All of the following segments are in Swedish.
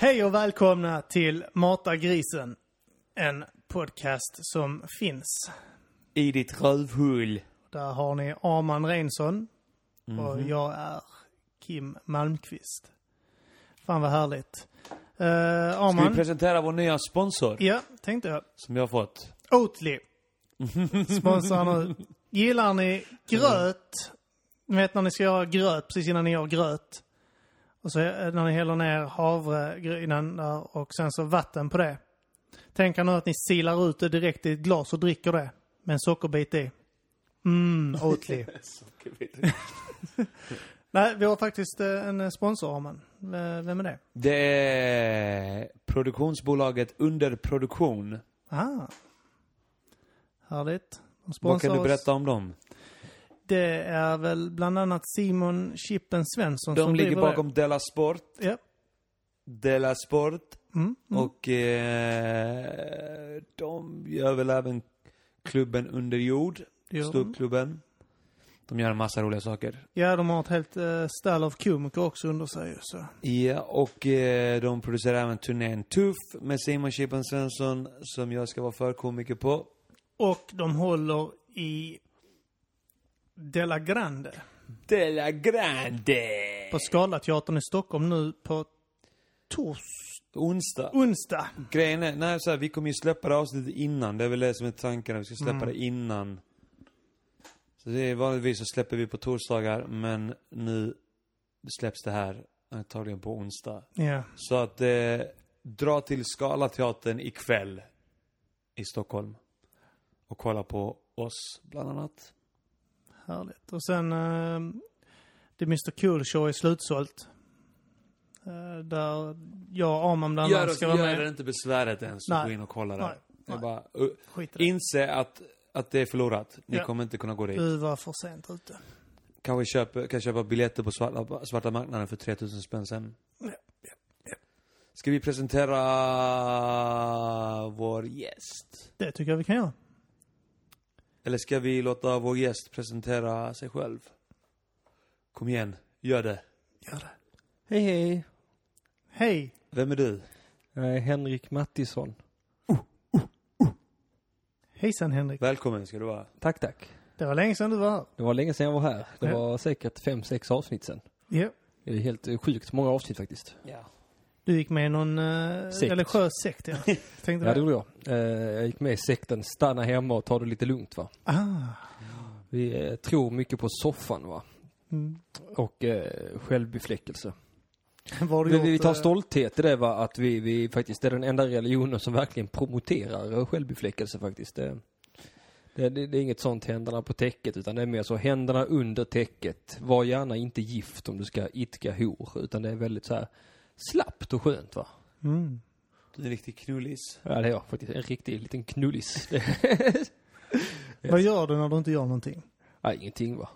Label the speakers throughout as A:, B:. A: Hej och välkomna till Mata grisen. En podcast som finns.
B: I ditt rövhull.
A: Där har ni Arman Reinsson och
B: Mhm.
A: jag är Kim Malmqvist. Fan vad härligt. Uh,
B: Ska vi
A: Arman?
B: presentera vår nya sponsor?
A: Ja, tänkte jag.
B: Som jag har fått.
A: Oatly. Sponsrar nu. Gillar ni gröt? Ni vet när ni ska göra gröt precis innan ni gör gröt. Och så eh, när ni häller ner havregrynen där och sen så vatten på det. Tänk er nu att ni silar ut det direkt i ett glas och dricker det med en sockerbit i. Mm, Oatly. Nej, vi har faktiskt eh, en sponsor, Arman. V- Vem är det?
B: Det är produktionsbolaget Underproduktion.
A: Ah. Härligt. De
B: Vad kan
A: sponsrar
B: du
A: oss.
B: berätta om dem?
A: Det är väl bland annat Simon Chippen Svensson
B: De
A: som
B: ligger
A: driver det.
B: bakom Della Sport,
A: Ja.
B: Della Sport
A: Mm. Mm.
B: och eh, de gör väl även klubben Under jord,
A: det gör de.
B: ståuppklubben. De gör en massa roliga saker.
A: ja, de har ett helt uh, stall av komiker också under sig. ju, Så.
B: Ja, och eh, de producerar även turnén Tuff med Simon Chippen Svensson som jag ska vara förkomiker på.
A: Och de håller i Della Grande
B: Della Grande!
A: på Scalateatern i Stockholm nu på tors-
B: Onsdag.
A: onsdag.
B: Grejen är, nej, så här, vi kommer ju släppa det här avsnittet innan. Det är väl det som är tanken, att vi ska släppa det innan. Så det är vanligtvis så släpper vi på torsdagar, men nu släpps det här antagligen på onsdag.
A: Ja,
B: Så att, eh, dra till Scalateatern ikväll i Stockholm. Och kolla på oss, bland annat.
A: härligt. Och sen eh, The Mr Cool Show är slutsålt. Eh, där jag och Arman bland
B: Gör,
A: annat
B: oss,
A: ska vara
B: gör
A: med.
B: er inte besväret ens
A: Nej.
B: att gå in och kolla
A: Nej.
B: där. Det är
A: Nej.
B: bara, uh,
A: Skit i det.
B: inse att, att det är förlorat. Ni
A: Ja.
B: kommer inte kunna gå dit.
A: Du var för sent ute.
B: Kanske köpa, kan köpa biljetter på svarta, svarta marknaden för 3000 spänn sen. Ska vi presentera vår gäst?
A: Det tycker jag vi kan göra.
B: Eller ska vi låta vår gäst presentera sig själv? Kom igen, gör det.
A: Gör det.
C: Hej hej!
A: Hej!
B: Vem är du?
C: Jag är Henrik Mattisson.
A: Hejsan Henrik.
B: Välkommen ska du vara.
C: Tack tack.
A: Det var länge sedan du var här.
C: Det var länge sedan jag var här. Det
A: Ja.
C: var säkert fem, sex avsnitt sedan.
A: Ja.
C: Det är helt eh, sjukt många avsnitt faktiskt.
B: Ja.
A: Du gick med i någon eh,
C: Sekt.
A: religiös sekt, ja. Tänkte
C: Ja det
A: du...
C: gjorde jag. Eh, Jag gick med i sekten Stanna hemma och ta det lite lugnt va.
A: Ah.
C: Vi eh, tror mycket på soffan va.
A: Mm.
C: Och eh, självbefläckelse.
A: Vad har du
C: Vi,
A: gjort,
C: vi tar
A: eh,
C: stolthet i det va, att vi, vi faktiskt är den enda religionen som verkligen promoterar eh, självbefläckelse faktiskt. Det, det, det, det är inget sånt händerna på täcket utan det är mer så händerna under täcket. Var gärna inte gift om du ska itka hor utan det är väldigt så här slappt och skönt va.
A: Mm.
B: Du är en riktig knullis.
C: Ja det är jag faktiskt, en riktig liten knullis. Det,
A: Vad gör du när du inte gör någonting?
C: nej, ingenting va.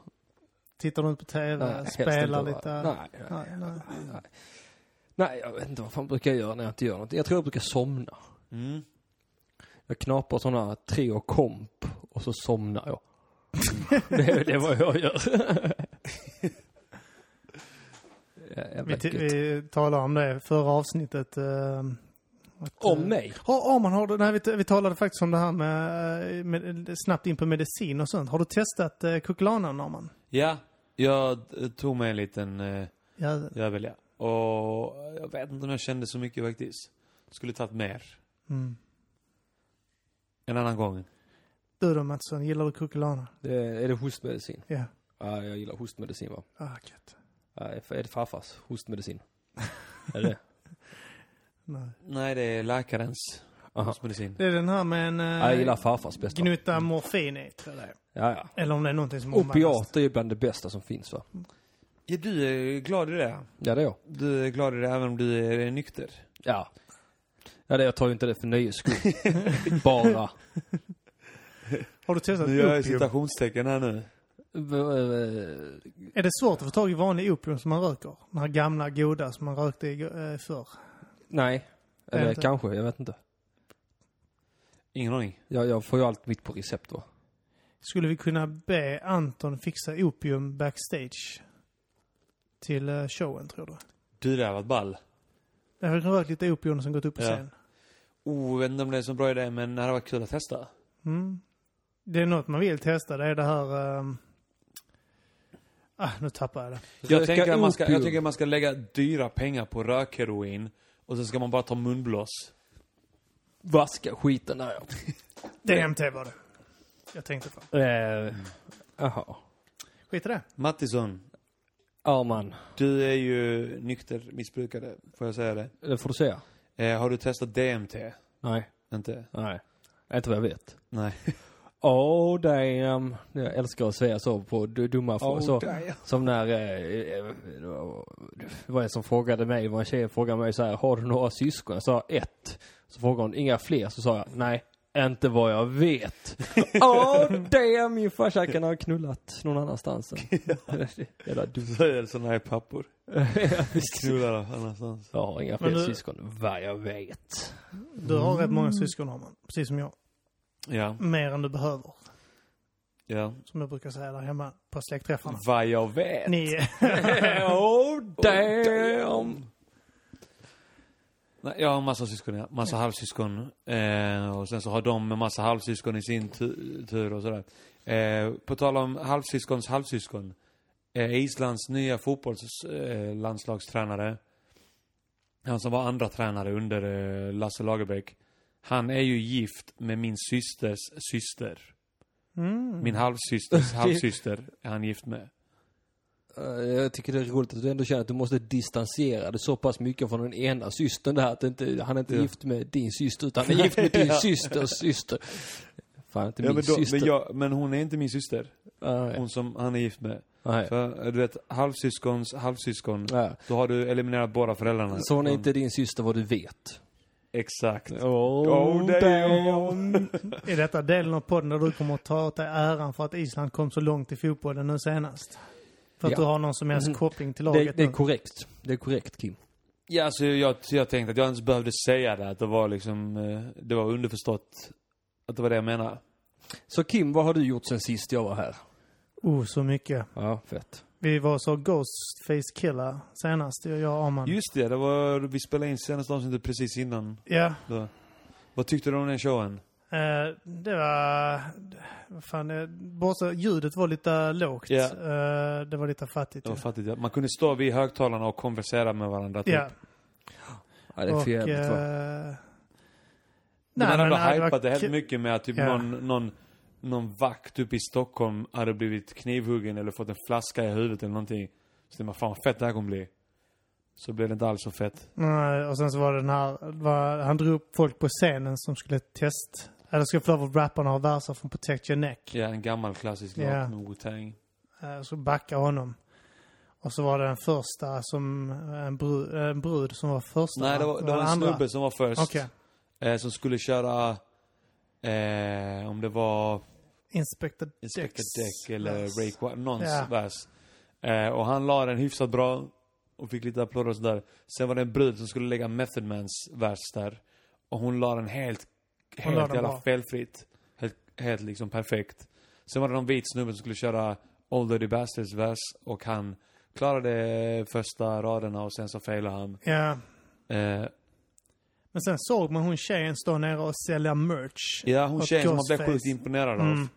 A: Tittar du inte på TV?
C: Nej, helst
A: spelar
C: inte, va?
A: lite?
C: Nej, nej,
A: Nej, nej.
C: nej. Nej, jag vet inte vad fan brukar jag göra när jag inte gör någonting. Jag tror jag brukar somna.
B: Mm.
C: Jag knapar sådana här Treo komp och så somnar jag. det, är- det är vad jag gör. Ja, jävla
A: Vi, ti-
C: gött.
A: vi talade om det förra avsnittet. Eh, att,
C: Om
A: eh,
C: mig?
A: Har, om man har, nej, vi, t- vi talade faktiskt om det här med, eh, med snabbt in på medicin och sånt. Har du testat eh, kuklanan, Arman?
B: Ja, jag eh, tog mig en liten eh,
A: Ja,
B: jävel ja. Och jag vet inte om jag kände så mycket faktiskt. Skulle tagit mer.
A: mm.
B: En annan gång.
A: Du då Mattsson, gillar du kukulana?
C: Det, är det hostmedicin?
A: Ja.
C: Ja, jag gillar hostmedicin va.
A: Ah, gött.
C: Ja, är det farfars hostmedicin? är det
A: Nej.
B: Nej, det är läkarens
C: Aha.
B: medicin.
A: Det är den här med en eh,
C: Ja, jag gillar farfars bästa. Ja,
A: gnutta morfin i, tror jag det är.
C: ja.
A: Eller om det är någonting som omvandlas.
C: Opiat är ju bland det bästa som finns va.
B: Ja, du är glad i det.
C: Ja, det är jag.
B: Du är glad i det även om du är nykter.
C: Ja. Ja, det, jag tar ju inte det för nöjes skull. Bara.
A: Har du testat
B: Nu gör jag
A: opium?
B: citationstecken här nu.
C: V- eh,
A: Är det svårt att få tag i vanlig opium som man röker? Den här gamla goda som man rökte i, eh, förr.
C: Nej.
A: Jag
C: Eller
A: vet inte.
C: kanske, jag vet inte.
B: Ingen aning.
C: Jag, jag får ju allt mitt på recept va.
A: Skulle vi kunna be Anton fixa opium backstage? Till eh, showen, tror du?
B: Du, det har varit ball.
A: Det har rört lite opion som gått upp på
B: Ja.
A: scen.
B: Oh, jag vet inte om det är en så bra idé, men det hade varit kul att testa.
A: Mm. Det är något man vill testa. Det är det här... ehm, Ah, nu tappar jag det.
B: Jag
C: Röka
B: tänker, att man ska, jag
C: opium.
B: tänker att man ska lägga dyra pengar på rökheroin och sen ska man bara ta munblås.
C: Vaska skiten där ja.
A: DMT var det. Jag tänkte på.
C: Eh, Jaha.
A: Skit i det.
B: Mattisson,
C: Arman,
B: du är ju nykter missbrukare, får jag säga det.
C: det får du säga.
B: Eh, har du testat DMT?
C: Nej,
B: Inte?
C: nej. Inte vad jag vet.
B: Nej.
C: Oh damn. Jag älskar att säga så på du- dumma frågor. så,
B: damn.
C: som när, eh, eh, det var- det var en som frågade mig, det var en tjej som frågade mig så här, har du några syskon? Jag sa ett. Så frågade hon, inga fler? Så sa jag, nej, inte vad jag vet. oh damn, min farsa kan ha knullat någon annanstans. Jävla dum.
B: Så är det sådana här pappor.
C: Ja, visst.
B: Knullar annanstans.
C: Jag har inga
A: Men
C: fler
A: du-
C: syskon, vad jag vet.
A: Du har rätt
C: Mm.
A: många syskon har man. Precis som jag.
B: Ja,
A: Mer än du behöver.
B: ja.
A: Som jag brukar säga där hemma på släktträffarna.
B: Vad jag vet.
A: Ni...
C: oh damn.
B: Nej, jag har en massa syskon, ja. Massa halvsyskon. Eh, och sen så har de en massa halvsyskon i sin tu- tur och sådär. Eh, på tal om halvsyskons halvsyskon. Eh, Islands nya fotbollslandslagstränare. Eh, landslagstränare, han som var andra tränare under eh, Lasse Lagerbäck. Han är ju gift med min systers syster.
A: Mm.
B: Min halvsysters halvsyster är han gift med.
C: Eh, Jag tycker det är roligt att du ändå känner att du måste distansera dig så pass mycket från den ena systern där. Att det inte, han är inte
B: Ja.
C: gift med din syster, utan han är gift med din
B: Ja.
C: systers syster. Fan, inte
B: Ja,
C: min
B: men, då,
C: syster. Ah,
B: men, jag, men hon är inte min syster.
C: Nej,
B: Hon som han är gift med.
C: nej.
B: För, eh, du vet, halvsyskons halvsyskon.
C: Nej.
B: Då har du eliminerat båda föräldrarna.
C: Så hon är inte din syster vad du vet.
B: Exakt.
C: Oh,
B: damn.
A: Är detta delen av podden där du kommer att ta åt dig äran för att Island kom så långt i fotbollen nu senast? För att
C: Ja. Mm.
A: du har någon som helst koppling till
C: Det,
A: laget
C: det är
A: nu?
C: korrekt. Det är korrekt, Kim.
B: Ja, så jag, jag tänkte att jag inte behövde säga det. Att det var liksom, eh, det var underförstått att det var det jag menade.
C: Mm. Så Kim, vad har du gjort sen sist jag var här?
A: Oh, så mycket.
C: Ja, fett.
A: Vi var så Ghostface Killa senast, jag och Arman.
B: Just det, det var, vi spelade in senaste avsnittet precis innan.
A: Ja,
B: Då. Vad tyckte du om den showen?
A: Eh, det var... Vad fan, eh, bortsett, ljudet var lite lågt.
B: Ja.
A: Eh, det var lite fattigt.
B: Det var
A: ju.
B: fattigt. ja. Man kunde stå vid högtalarna och konversera med varandra. Typ.
A: Ja,
C: Ja, det är
A: och...
C: för jävligt
A: eh,
C: va?
B: Men han hade
A: nej, var
B: hypat det
A: kul.
B: helt mycket med att typ
A: Ja.
B: någon, någon, någon vakt uppe i Stockholm hade blivit knivhuggen eller fått en flaska i huvudet eller någonting. Så tänkte man, fan vad fett det här kommer bli. Så blev det inte alls så fett.
A: Nej, och sen så var det den här, var, han drog upp folk på scenen som skulle test, eller skulle få lov att rapparna ha verser från Protect Your Neck.
B: Ja, en gammal klassisk låt
A: Ja.
B: med Wu-Tang.
A: Eh, Så backa honom. Och så var det den första som, en brud, en brud som var första.
B: Nej, det
A: va?
B: var, det var
A: den
B: en
A: andra.
B: snubbe som var först.
A: Okej.
B: Eh, som skulle köra, eh, om det var
A: Inspector
B: Inspector
A: Dex.
B: Deck eller
A: Yes.
B: Ray Qua- någons
A: Ja.
B: vers. Eh, och han la den hyfsat bra och fick lite applåder och sådär. Sen var det en brud som skulle lägga Method Mans vers där. Och hon la den helt,
A: Hon la
B: helt
A: den
B: jävla
A: bra.
B: felfritt. Helt, helt liksom perfekt. Sen var det någon vit snubbe som skulle köra Old Dirty Bastards vers och han klarade första raderna och sen så failade han.
A: Ja.
B: Eh,
A: Men sen såg man hon tjejen stå nere och sälja merch.
B: ja, hon
A: Och
B: tjejen som man blev
A: Ghostface.
B: sjukt imponerad av.
A: Mm.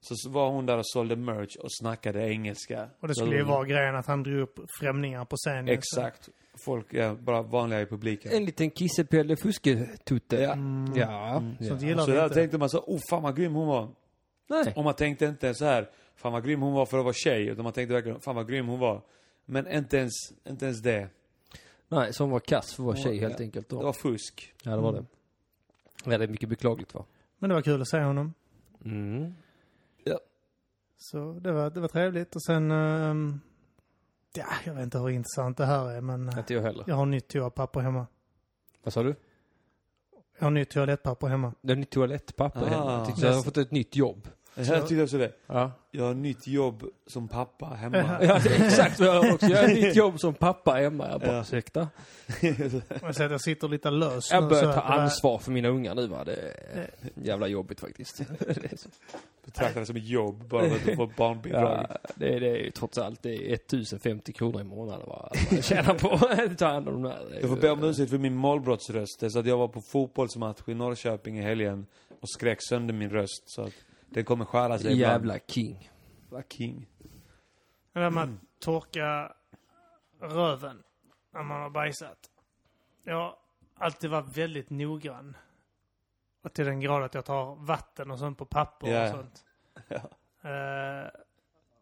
B: Så så var hon där och sålde merch och snackade engelska.
A: Och det
B: Så
A: skulle ju
B: hon-
A: vara grejen att han drog upp främningar på scenen.
B: Exakt. Folk är bara vanliga i publiken.
C: En liten kissepelle fusketutte.
B: Ja.
C: Ja.
A: Så, sånt
C: ja.
A: gillar
B: Så
A: vi
B: där
A: inte.
B: tänkte man så, oh fan vad grym hon var.
C: Nej.
B: Och man tänkte inte så här, fan vad grym hon var för att vara tjej. Utan man tänkte verkligen, fan vad grym hon var. Men inte ens, inte ens det.
C: Nej, som var kass för att vara tjej
B: Ja.
C: helt enkelt.
B: Det
C: Då.
B: var fusk.
C: Ja, det var
A: Mm.
C: det. Väldigt mycket beklagligt va?
A: Men det var kul att se honom.
C: Mm.
A: Så det var, det var trevligt. Och sen... ehm, ja, jag vet inte hur intressant det här är, men eh,
C: Inte jag heller.
A: jag har nytt toapapper hemma.
C: Vad sa du?
A: Jag har nytt toalettpapper hemma.
C: Det är nytt toalettpapper
B: Ah.
C: hemma. Jag tyckte jag har fått ett nytt jobb.
B: Jag tyckte också det.
C: Ja.
B: Jag har nytt jobb som pappa hemma.
A: Ja.
C: Ja, det är exakt vad jag har också. Jag har mitt jobb som pappa hemma. Jag bara,
B: Ja.
C: ursäkta.
A: Jag säger att jag sitter lite lös
C: Jag
A: nu,
C: börjar
A: så Eh.
C: ta
A: att eh, det här-
C: ansvar för mina ungar nu va. Det är jävla jobbigt faktiskt. Det är så-
B: Betraktar det som ett jobb bara för att du får barnbidrag.
C: Ja, det, det är ju trots allt det är 1050 kronor i månaden va. Att man tjänar på att ta hand om de här.
B: Jag får be om ursäkt för min målbrottsröst. Det är så att jag var på fotbollsmatch i Norrköping i helgen och skrek sönder min röst. Så att den kommer skära sig ibland.
C: Jävla king.
B: Fucking.
A: Det där med att torka röven när man har bajsat. Jag har alltid varit väldigt noggrann. Och till den grad att jag tar vatten och sånt på papper
B: Ja,
A: och
B: ja.
A: sånt.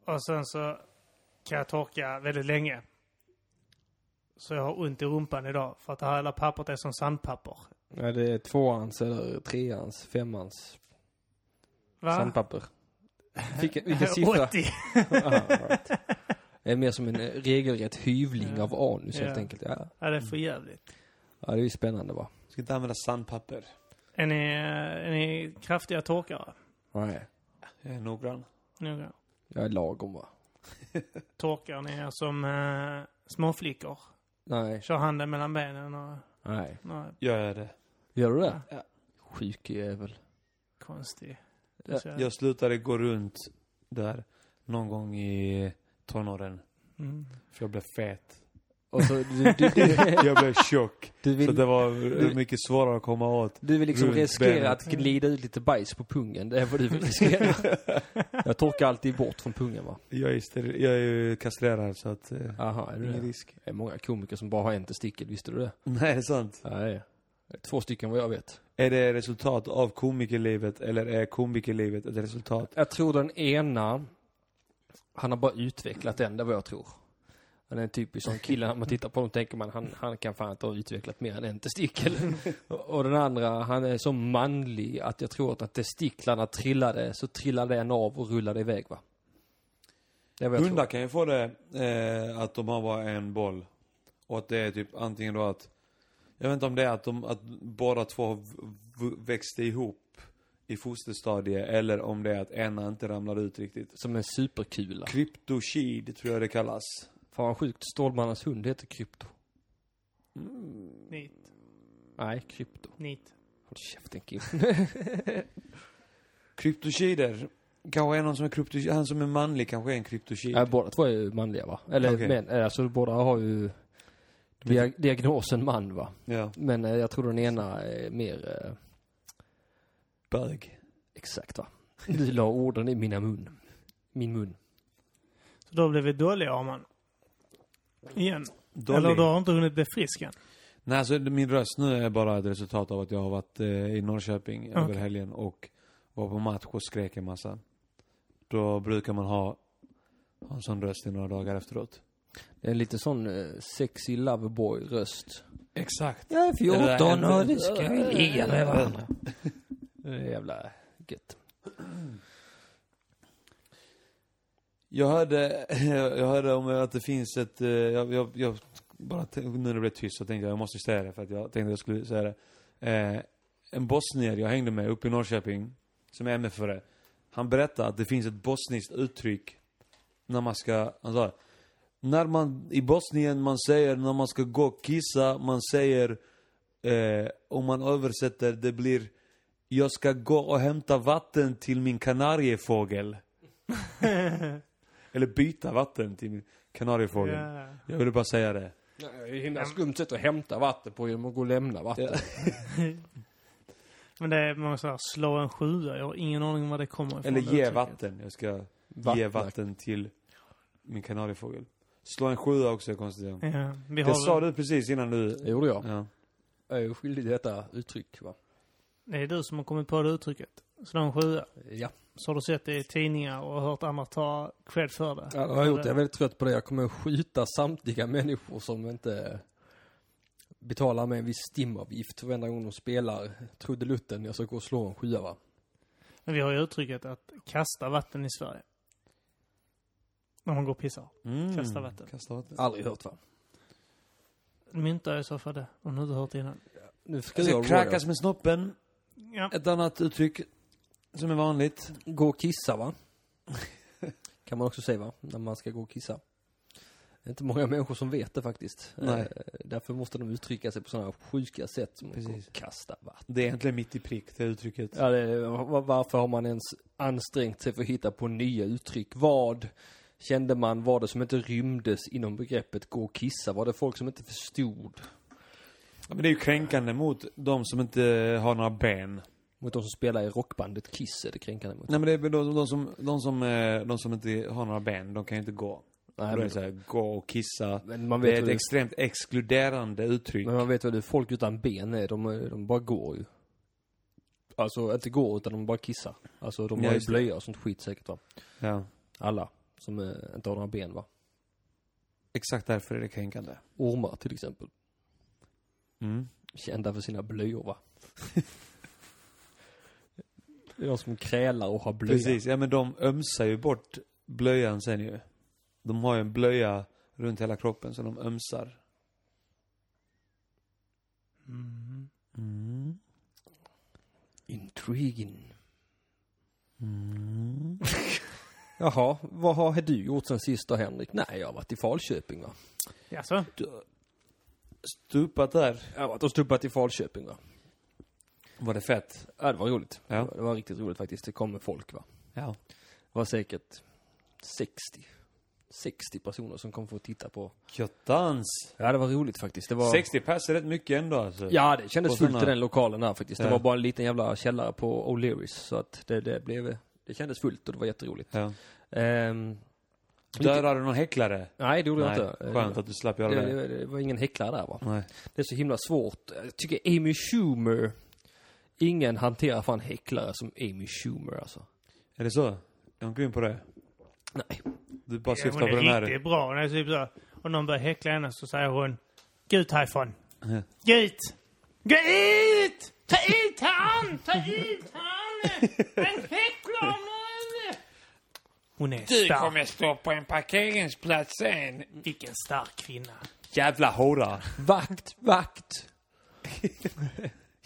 A: Eh, och sen så kan jag torka väldigt länge. Så jag har ont i rumpan idag för att det här hela pappret är som sandpapper.
C: Ja, det är tvåans eller treans, femans
A: Va?
C: sandpapper. Vilken, vilken siffra?
A: 80.
C: Ja, right. Det är mer som en eh, regelrätt hyvling av anus helt
A: Ja.
C: enkelt. Ja.
A: Ja, det är för jävligt.
C: ja, det är ju spännande va.
B: Ska inte använda sandpapper.
A: Är ni, eh, är ni kraftiga torkare?
C: Nej.
B: Jag är Eh, noggrann.
A: Noggrann.
C: Jag är lagom va.
A: torkar ni er som eh, småflickor?
C: Nej.
A: Kör handen mellan benen och...
C: Nej.
A: Nej,
B: Gör jag det?
C: Gör du det?
B: Ja.
C: Sjuk jävel.
A: konstig.
C: Ja,
A: Så-
B: Jag slutade gå runt där någon gång i tonåren.
A: Mm.
B: För jag blev fet.
C: Och så, du, du, du,
B: Jag blev tjock.
C: du
B: Så
C: vill
B: det var mycket svårare att komma åt.
C: Du vill liksom
B: Runt
C: riskera
B: benet.
C: att glida ut lite bajs på pungen. Det är vad du vill riskera. jag torkar alltid bort från pungen va?
B: Jag är, steril- jag är ju kastrerad så att... Eh,
C: Aha, är det
B: ingen
C: det?
B: risk.
C: Det är många komiker som bara har en testikel, visste du det?
B: Nej, det är sant.
C: Nej. Två stycken vad jag vet.
B: Är det resultat av komikerlivet eller är komikerlivet ett resultat?
C: Jag tror den ena, han har bara utvecklat den, det är vad jag tror. Han är en typisk sån kille, när man tittar på honom tänker man han, han kan fan inte ha utvecklat mer än en testikel. Och- Och den andra, han är så manlig att jag tror att när testiklarna trillade så trillade en av och rullade iväg va? Det är vad jag tror.
B: Hundar kan ju få det eh, att de har bara en boll. Och att det är typ antingen då att... Jag vet inte om det är att, de, att båda två har v- v- växte ihop i fosterstadie eller om det är att ena inte ramlar ut riktigt.
C: Som en superkula.
B: Kryptochid tror jag det kallas.
C: Fan vad sjukt, Stålmannens hund heter Krypto.
B: Mm.
A: Nit.
C: Nej, Krypto.
A: Nit.
C: Håll käften Kim.
B: Kryptochider. Kanske är någon som är krypto, han som är manlig kanske är en kryptochid.
C: Nej, båda två är ju manliga va? Eller
B: Okej.
C: män, eh, alltså båda har ju dia- diagnosen man va?
B: Ja.
C: Men eh, jag tror den ena är mer eh,
B: Bög.
C: exakt va? Du la orden i mina mun. Min mun.
A: Så då blev vi dåliga om man. Igen.
B: Dolly.
A: Eller du har inte hunnit bli frisk än.
B: Nej, alltså min röst nu är bara ett resultat av att jag har varit eh, i Norrköping över
A: Okej.
B: helgen och var på match och skrek en massa. Då brukar man ha, ha en sån röst i några dagar efteråt.
C: Det är en lite sån eh, sexy loveboy röst.
B: Exakt.
C: Jag är
B: 14 och det
C: ska vi ligga med varandra. Det är jävla gött.
B: Jag hörde, jag hörde om att det finns ett, eh, jag, jag, jag bara t- nu när det blev tyst så tänkte jag jag måste säga det för att jag tänkte jag skulle säga det. Eh, en bosnier jag hängde med uppe i Norrköping, som är MFF-are, han berättade att det finns ett bosniskt uttryck när man ska, han sa, när man, i Bosnien man säger när man ska gå och kissa, man säger, eh, om man översätter, det blir jag ska gå och hämta vatten till min kanariefågel. Eller byta vatten till min kanariefågel.
A: Ja.
B: Jag ville bara säga det.
C: Det är ett himla skumt sätt att hämta vatten på genom att gå och lämna vatten.
A: Men det är man säger slå en sjua. Jag har ingen aning om var det kommer ifrån.
B: Eller
A: det
B: ge
A: uttrycket.
B: vatten. Jag ska ge vatten till min kanariefågel. Slå en sjua också är konstigt. Ja.
A: Ja, vi
B: Det sa
A: Mm. har,
B: du precis innan du...
C: Det gjorde jag.
B: Ja.
C: Jag är ju skyldig detta uttryck va?
A: det är du som har kommit på det uttrycket. Slå en sjua.
C: Ja.
A: Så har du sett det i tidningar och hört andra ta cred för det.
C: Ja, det har jag gjort. Jag är väldigt trött på det. Jag kommer att skjuta samtliga människor som inte betalar med en viss stimavgift för varenda gång de spelar trudelutten. Jag ska gå och slå en sjua va?
A: Men vi har ju uttrycket att kasta vatten i Sverige. När man går och pissar.
B: Mm.
A: Kasta vatten.
B: Kasta vatten.
C: Aldrig hört va?
A: Mynta i så fall det, om du inte hört det innan.
C: Nu ska
B: Jag
C: jag
B: ska
C: Royal.
B: kräkas med snoppen.
A: Ja.
B: Ett annat uttryck. som är vanligt.
C: Gå och kissa va? kan man också säga va? När man ska gå och kissa. Det är inte många människor som vet det faktiskt.
B: Nej.
C: Eh, Därför måste de uttrycka sig på sådana sjuka sätt som att gå
B: Precis.
C: och kasta vatten.
B: Det är egentligen mitt i prick, det uttrycket.
C: Ja, det är, va- varför har man ens ansträngt sig för att hitta på nya uttryck? Vad kände man var det som inte rymdes inom begreppet gå och kissa? Var det folk som inte förstod?
B: Ja, men det är ju kränkande mot de som inte har några ben.
C: Mot de som spelar i rockbandet Kiss är det kränkande mot.
B: Nej men det är väl de, de, som, de, som, eh, de som inte har några ben, de kan ju inte gå.
C: Nej,
B: Då är
C: men,
B: det så här, gå och kissa.
C: men man
B: Det
C: vet
B: är ett
C: väl,
B: extremt exkluderande uttryck.
C: men man vet väl hur folk utan ben är, de, de bara går ju. Alltså inte går utan de bara kissar. Alltså de
B: Ja,
C: har ju
B: just det.
C: blöjor och sånt skit säkert va.
B: Ja.
C: Alla som eh, inte har några ben va.
B: Exakt därför är det kränkande.
C: Ormar till exempel.
B: Mm.
C: kända för sina blöjor va? det är de som krälar och har blöja.
B: Precis, ja men de ömsar ju bort blöjan sen ju. De har ju en blöja runt hela kroppen så de ömsar.
A: Mm.
B: Mm.
C: Intriguing.
B: Mm.
C: Jaha, vad har du gjort sen sist då Henrik? Nej, jag har varit i Falköping va?
A: Jaså?
B: Stupat där.
C: Jag har varit och stubbat i Falköping va?
B: Var det fett?
C: Ja, det var roligt.
B: Ja.
C: Det, var, det var riktigt roligt faktiskt. Det kom folk va?
B: Ja.
C: Det var säkert 60. 60 personer som kom för att titta på.
B: Köttans!
C: Ja, det var roligt faktiskt. Det var...
B: 60 pass är rätt mycket ändå alltså.
C: Ja, det kändes
B: Och
C: fullt i
B: såna-
C: den lokalen där faktiskt. Det
B: Ja.
C: var bara en liten jävla källare på O'Learys. Så att det, det blev... Det kändes fullt och det var jätteroligt.
B: ja.
C: Ehm, Lite-
B: Dödade du någon häcklare?
C: nej, det gjorde jag inte.
B: Skönt att du slapp göra
C: det,
B: det.
C: det, det var ingen häcklare där va?
B: Nej.
C: Det är så himla svårt. Jag tycker Amy Schumer, ingen hanterar fan häcklare som Amy Schumer alltså.
B: Är det så? Är hon grym på det?
C: Nej.
B: Du bara
A: Ja,
B: syftar
A: hon
B: på den
A: är
B: här?
A: riktigt bra. Hon är typ så, om någon börjar häckla henne så säger hon Gå ut härifrån! Gå ut! Gå ut! Ta ut han! Ta ut han! Han häcklar nu! Hon är stark.
B: stå på en parkeringsplats sen.
A: Vilken stark kvinna.
B: Jävla hora.
C: Vakt, vakt!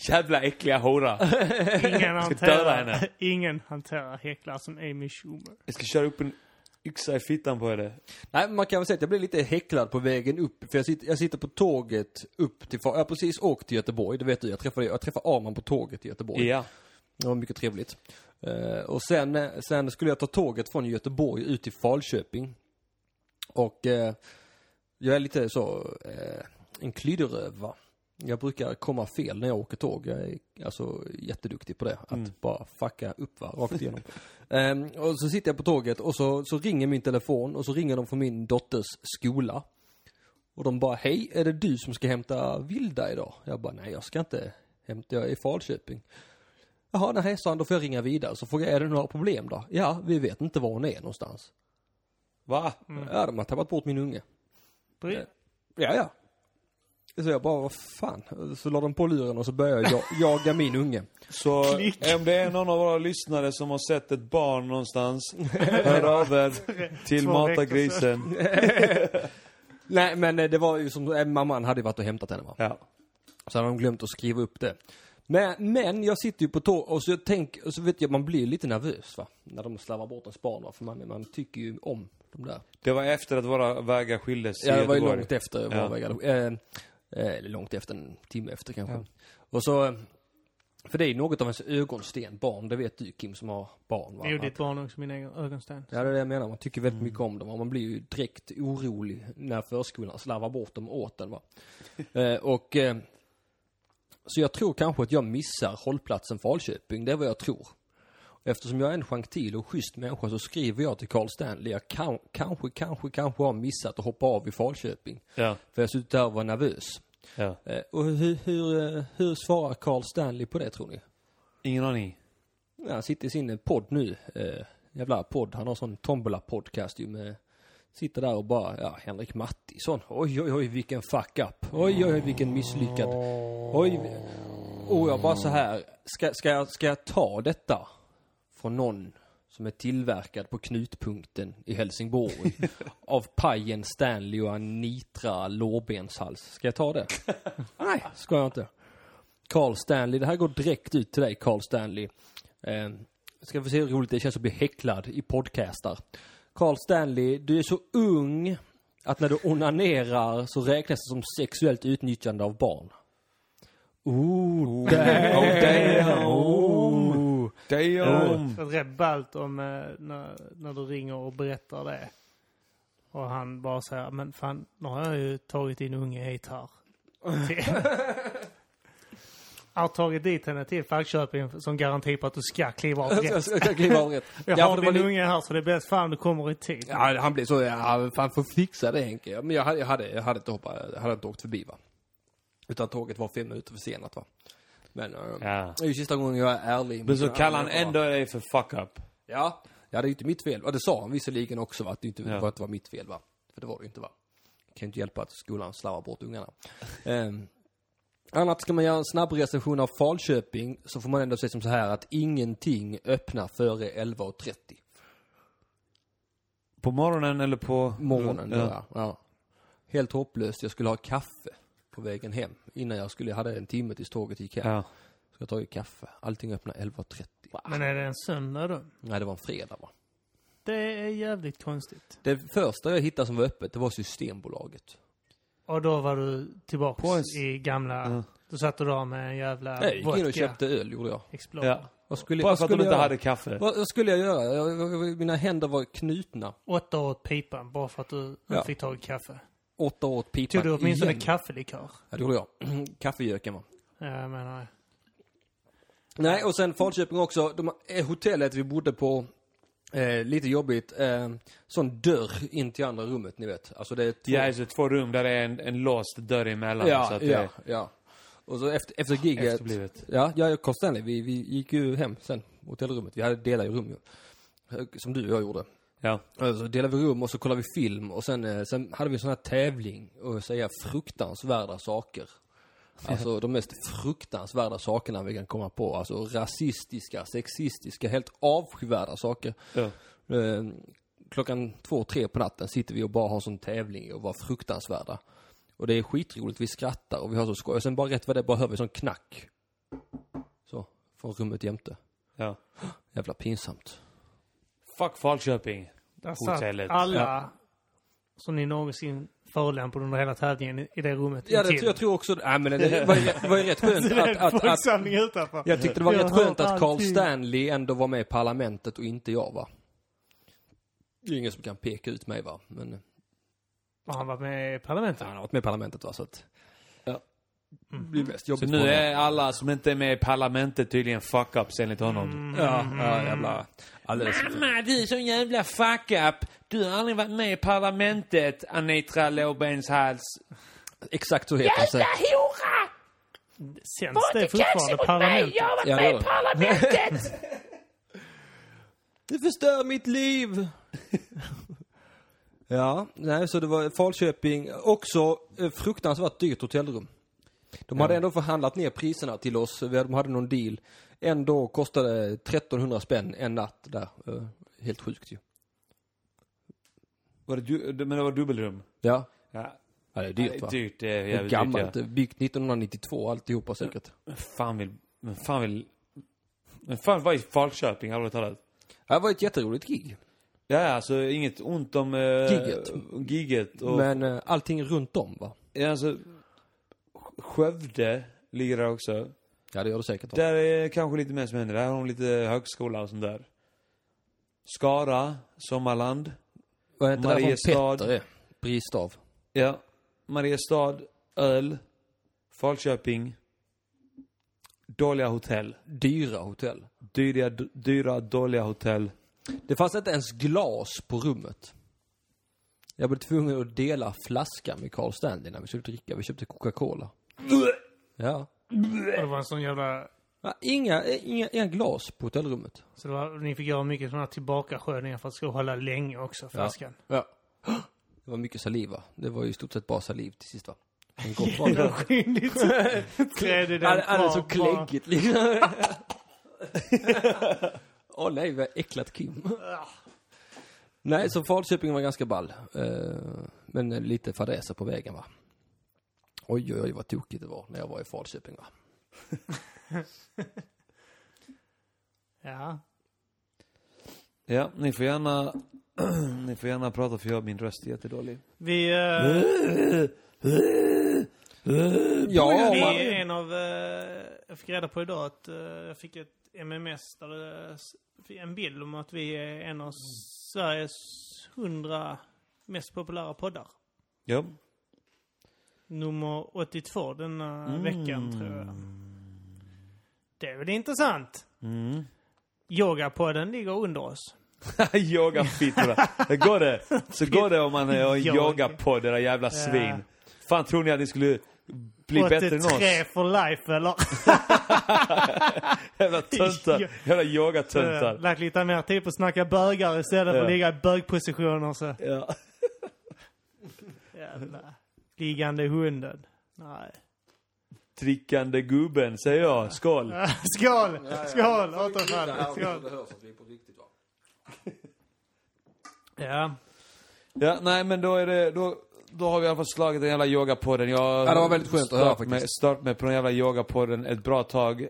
B: Jävla äckliga hora.
A: Ingen
B: döda henne.
A: hanterar, ingen hanterar häcklare som Amy Schumer.
B: Jag ska köra upp en yxa i fittan på henne.
C: Nej, man kan väl säga att jag blev lite häcklad på vägen upp. För jag sitter, jag sitter på tåget upp till, Fa- jag har precis åkt till Göteborg, det vet du. Jag träffade, jag träffade Arman på tåget till Göteborg.
B: Ja.
C: Det var mycket trevligt. Eh, och sen, eh, sen skulle jag ta tåget från Göteborg ut till Falköping. Och eh, jag är lite så, eh, en klyderöv va. Jag brukar komma fel när jag åker tåg. Jag är alltså jätteduktig på det. Att bara fucka upp va, rakt igenom. Ehm, och så sitter jag på tåget och så, så ringer min telefon och så ringer de från min dotters skola. Och de bara, hej, är det du som ska hämta Vilda idag? Jag bara, nej jag ska inte hämta, jag är i Falköping. Jaha, nej, sa han, då får jag ringa vidare. Så frågar jag, är det några problem då? Ja, vi vet inte var hon är någonstans.
B: Va?
C: Ja, de har tappat bort min unge.
A: Bry-
C: Ja, ja. Så jag bara, vad fan? Så la de på luren och så började jag jaga min unge.
B: Så
A: Klick.
B: om det är någon av våra lyssnare som har sett ett barn någonstans, hör av er till
A: Två
B: Mata
A: veckor
B: grisen.
C: Nej, men eh, det var ju som, eh, mamman hade ju varit och hämtat henne va?
B: Ja.
C: Så hade de glömt att skriva upp det. Men, men jag sitter ju på tåg och så jag tänk, och så vet jag, man blir ju lite nervös va? När de slarvar bort ens barn va? För man, man tycker ju om de där.
B: Det var efter att våra vägar skildes i
C: Ja, det var ju
B: Göteborg.
C: långt efter
B: Ja.
C: Varberg Gallo- eh, eh, Eller långt efter, en timme efter kanske. Och så, eh, för det är ju något av ens ögonsten, barn, det vet du Kim som har barn va?
A: Det gjorde
C: Att-
A: ditt barn också, min egen ögonsten.
C: Ja, det är det jag menar. Man tycker
B: Mm.
C: väldigt mycket om dem och man blir ju direkt orolig när förskolan slarvar bort dem åt en. Va? eh, och, eh, så jag tror kanske att jag missar hållplatsen Falköping, det är vad jag tror. Eftersom jag är en gentil och schysst människa så skriver jag till Carl Stanley, jag kan, kanske, kanske, kanske har missat att hoppa av i Falköping.
B: Ja,
C: För jag suttit där och var nervös.
B: ja.
C: Eh, och hur, hur, eh, hur svarar Carl Stanley på det tror ni?
B: Ingen aning.
C: Ja, han sitter i sin podd nu. Eh, jävla podd. Han har sån tombola-podcast ju med... Sitter där och bara, ja, Henrik Mattisson. Oj, oj, oj, vilken fuck up. Oj, oj, oj, vilken misslyckad. Oj. vi- Och jag bara så här, ska, ska, jag, ska jag ta detta från någon som är tillverkad på knutpunkten i Helsingborg av pajen Stanley och Anitra lårbenshals? Ska jag ta det? Nej, ska jag inte. Carl Stanley, det här går direkt ut till dig Carl Stanley. Eh, Ska vi se hur roligt det känns att bli häcklad i podcastar. Carl Stanley, du är så ung att när du onanerar så räknas det som sexuellt utnyttjande av barn. Ooh, damn.
B: Oh, damn.
C: Ooh.
B: Damn!
A: Rätt ballt om eh, när, när du ringer och berättar det. Och han bara säger, men fan, nu har jag ju tagit in unge hit här. Till- Jag har tagit dit henne till Falköping som garanti på att du ska kliva av
C: Jag
A: rätt.
C: ska- jag ska kliva av rätt.
A: Jag
C: Ja,
A: har
C: för det var
A: din
C: lite-
A: unge här så det är bäst fan du kommer i tid.
C: Ja, han blev så, ja, fan får fixa det Henke. Ja, Men jag hade, jag hade, jag hade inte hoppat, jag hade inte åkt förbi va. Utan tåget var fem minuter försenat va. Men, eh,
B: Ja.
C: det är ju sista gången jag är ärlig.
B: Men så kallar han ändå dig för fuck up.
C: Ja, ja det är ju inte mitt fel. Ja, det sa han visserligen också va, att det inte
B: Ja.
C: var, att det var mitt fel va. För det var det ju inte va. Kan ju inte hjälpa att skolan slarvar bort ungarna. Ehm, annat ska man göra en snabb recension av Falköping så får man ändå säga som så här att ingenting öppnar före 11.30.
B: På morgonen eller på...
C: morgonen.
B: Ja.
C: då, Ja. Ja. Helt hopplöst. Jag skulle ha kaffe på vägen hem. Innan jag skulle, jag hade en timme tills tåget gick hem.
B: Ja.
C: Så jag tog kaffe. Allting öppnade 11.30.
A: Men är det en söndag då?
C: Nej, det var en fredag va?
A: Det är jävligt konstigt.
C: Det första jag hittade som var öppet, det var Systembolaget.
A: Och då var du tillbaks
B: På en-
A: i gamla...
B: Ja.
A: Då satt du där med en jävla
C: Nej, jag gick in
A: vodka
C: och köpte öl gjorde jag.
A: Explorer.
B: Ja.
C: Vad skulle,
B: Bara
C: vad
B: för att de
C: skulle
B: inte
C: jag
B: hade
C: göra?
B: kaffe.
C: Vad, vad skulle jag göra? Jag, jag, jag, mina händer var knutna.
A: Åtta åt pipan bara för att du
C: Ja.
A: fick tag i kaffe.
C: Åtta åt pipan
A: Tog du åtminstone
C: igen.
A: kaffelikör?
C: Ja, det gjorde jag. Kaffegöken va?
A: Ja, jag menar det.
C: Nej, och sen Falköping också. De, eh, hotellet vi bodde på, eh, lite jobbigt. Eh, sån dörr in till andra rummet, ni vet. Alltså det är två...
B: Ja, så två rum där det är en, en låst dörr emellan.
C: ja,
B: så att det
C: ja,
B: är
C: ja. Och så efter, efter giget.
B: efterblivet.
C: Ja, jag och Carl Stanley, vi, vi gick ju hem sen, hotellrummet. Vi hade delat i rum ju. Eh, Som du och jag gjorde.
B: Ja.
C: Och Alltså, Så delade vi rum och så kollade vi film och sen, eh, sen hade vi en sån här tävling och säga fruktansvärda saker. Alltså de mest fruktansvärda sakerna vi kan komma på. Alltså rasistiska, sexistiska, helt avskyvärda saker.
B: ja.
C: Eh, Klockan två, tre på natten sitter vi och bara har en sån tävling och var fruktansvärda. Och det är skitroligt, vi skrattar och vi har så skoj. Och sen bara rätt vad det är, bara hör vi sån knack. Så, från rummet jämte.
B: ja.
C: Jävla pinsamt.
B: Fuck Falköping.
A: Där satt
B: Hotellet.
A: alla som ni någonsin förolämpade under hela tävlingen i- i det rummet
C: Ja, det,
A: intill.
C: jag tror också, nej men det var ju, var ju rätt skönt
A: Det är
C: att,
A: en
C: att, att
A: folksamling utanför.
C: jag tyckte det var
A: Jag
C: rätt
A: har
C: skönt att Carl
A: allting.
C: Stanley ändå var med i parlamentet och inte jag va. Det är ingen som kan peka ut mig va, men
A: Och Han var med i parlamentet.
C: han har varit med i parlamentet va så att. Ja. Det blir mest
B: Så
C: jobbigt
B: nu
C: för honom.
B: är alla som inte är med i parlamentet tydligen fuck-ups enligt honom.
C: Mm. Ja, ja jävla, alldeles.
B: Mamma, du är sån jävla fuck-up. Du har aldrig varit med i parlamentet, Anitra Låbenshals.
C: Exakt så heter han säkert.
A: Sänds det fortfarande parlamentet?
C: Ja, det parlamentet! du förstör mitt liv! ja, nej, så det var Falköping. Också eh, fruktansvärt dyrt hotellrum. De hade ändå förhandlat ner priserna till oss. Vi hade- De hade någon deal. Ändå kostade 1300 spänn en natt där. Eh, Helt sjukt ju.
B: Var det du, men det var dubbelrum?
C: Ja,
B: Ja.
C: ja det är
B: Det
C: dyrt
B: är
C: va?
B: dyrt, det är
C: Det är
B: jävligt
C: gammalt, typ.
B: dyrt.
C: det är byggt 1992 alltihopa säkert.
B: Ja. Fan vill, men fan vill... Men fan var i Falköping, allvarligt talat.
C: Det var ett jätteroligt gig.
B: Ja, alltså inget ont om... Eh,
C: Gigget.
B: Gigget och...
C: Men eh, allting runt om va?
B: Ja, alltså, Skövde ligger där också.
C: Ja det gör det säkert. Va?
B: Där är det kanske lite mer som händer. Där har de lite högskola och sånt där. Skara, Sommarland.
C: Vad heter Mariestad.
B: Mariestad.
C: Petter är? Bristav.
B: Ja. Mariestad, Öl. Falköping. Dåliga hotell.
C: Dyra hotell.
B: Dyra, d- dyra dåliga hotell.
C: Det fanns inte ens glas på rummet. Jag blev tvungen att dela flaskan med Carl Stanley när vi skulle dricka. Vi köpte Coca-Cola. Ja.
A: Och det var en sån jävla...
C: Ja, Inga, inga, inga glas på hotellrummet.
A: Så det var, ni fick göra mycket sådana här tillbakasköljningar för att det skulle hålla länge också, flaskan.
C: Ja. Det var mycket saliva. Det var ju i stort sett bara saliv till sist va? Men gott var det.
A: Rimligt. Trädde den
C: All- Alldeles så
A: kvar, bara-
C: kläggigt liksom. Åh nej, vi har äcklat Kim. nej, så Falköping var ganska ball. Eh, Men lite fadäser på vägen va. Oj, oj, oj vad tokigt det var när jag var i Falköping va.
A: Ja.
B: Ja, ni får gärna, ni får gärna prata för jag, min röst är jättedålig.
A: Vi,
C: Mm.
A: eh,
C: Ja,
A: vi
C: man,
A: är en av... eh, jag fick reda på idag att eh, jag fick ett MMS där det s- en bild om att vi är en av Sveriges hundra mest populära poddar.
B: Ja.
A: Nummer 82 denna
B: Mm.
A: veckan, tror jag. Det är väl intressant?
B: Mm.
A: Yogapodden ligger under oss.
B: Yogafittorna. Det går det. Så går det om man är och
A: Jag-
B: yogar på era jävla svin. Fan tror ni att ni skulle bli bättre än oss?
A: 83 for life, eller?
B: Jävla töntar. Jävla yogatöntar.
A: Eh, Lagt lite mer tid på att snacka bögar istället för
B: Ja.
A: att ligga i bögpositioner. Så.
B: Ja.
A: Jävla liggande hunden. Nej.
B: Trickande gubben säger jag. Skål.
A: Skål! Skål! Återfall! Skål! Ja.
B: Ja, nej men då är det, då, då har vi i alla fall slagit den jävla yogapodden. Jag
C: Ja, det var väldigt skönt att höra
B: stört
C: faktiskt.
B: Mig, stört mig på den jävla yogapodden ett bra tag. Eh,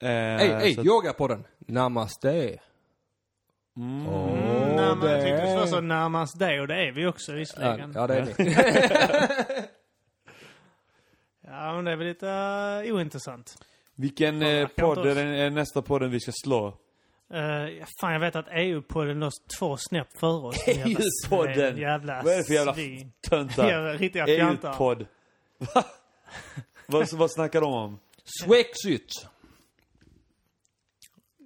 C: Hej,
B: så
C: hej,
B: att-
C: yogapodden. Namaste. Mm.
A: Nej, men jag tyckte det var så närmast dig och det är vi också visserligen.
C: Ja, det är ni.
A: Ja, men det är väl lite eh, ointressant.
B: vilken
A: Fan,
B: eh,
A: jag kan
B: podd
A: inte
B: är den, är nästa podden vi ska slå?
A: Uh, fan, jag vet att EU-podden låg två snäpp före oss. Den jävla
B: EU-podden!
A: svin, Jävla
B: E Vad är det för jävla
A: svin.
B: töntar?
A: Ja, Riktiga fjantar.
B: EU-podd. Va? vad, vad snackar de om?
C: Swexit.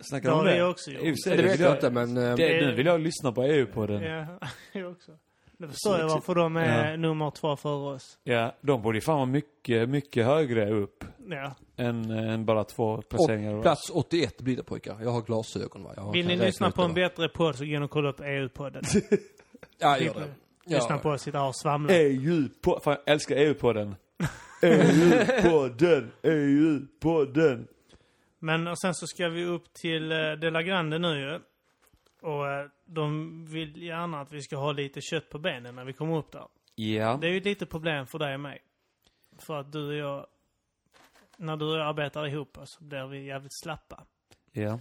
B: Snackar
A: Det
B: de om
A: har
B: det?
A: vi också gjort.
B: I och för sig,
C: Det vet
B: vill
C: jag inte, men... eh,
B: Det, nu vill jag lyssna på E EU-podden.
A: Ja, jag också. Nu förstår jag varför de är nummer två före oss.
B: Ja, de borde ju fan vara mycket, mycket högre upp
A: Ja.
B: än, eh, än bara två placeringar.
C: Och plats 81 blir det pojkar. Jag har glasögon va? Jag har-
A: Vill ni
C: kan räkna
A: lyssna
C: ut
A: på
C: det,
A: en
C: va?
A: bättre podd så gå in och kolla upp EU-podden.
C: Ja, gör det.
A: Lyssna
C: Ja.
A: på oss sitta här och
B: E
A: svamla.
B: EU-podden. Fan, jag älskar E EU-podden. EU-podden, EU-podden.
A: Men och sen så ska vi upp till eh, De La Grande nu ju. Och eh, de vill gärna att vi ska ha lite kött på benen när vi kommer upp där.
B: Ja.
A: Det är ju lite problem för dig och mig. För att du och jag, när du och jag arbetar ihop så blir vi jävligt slappa.
B: ja.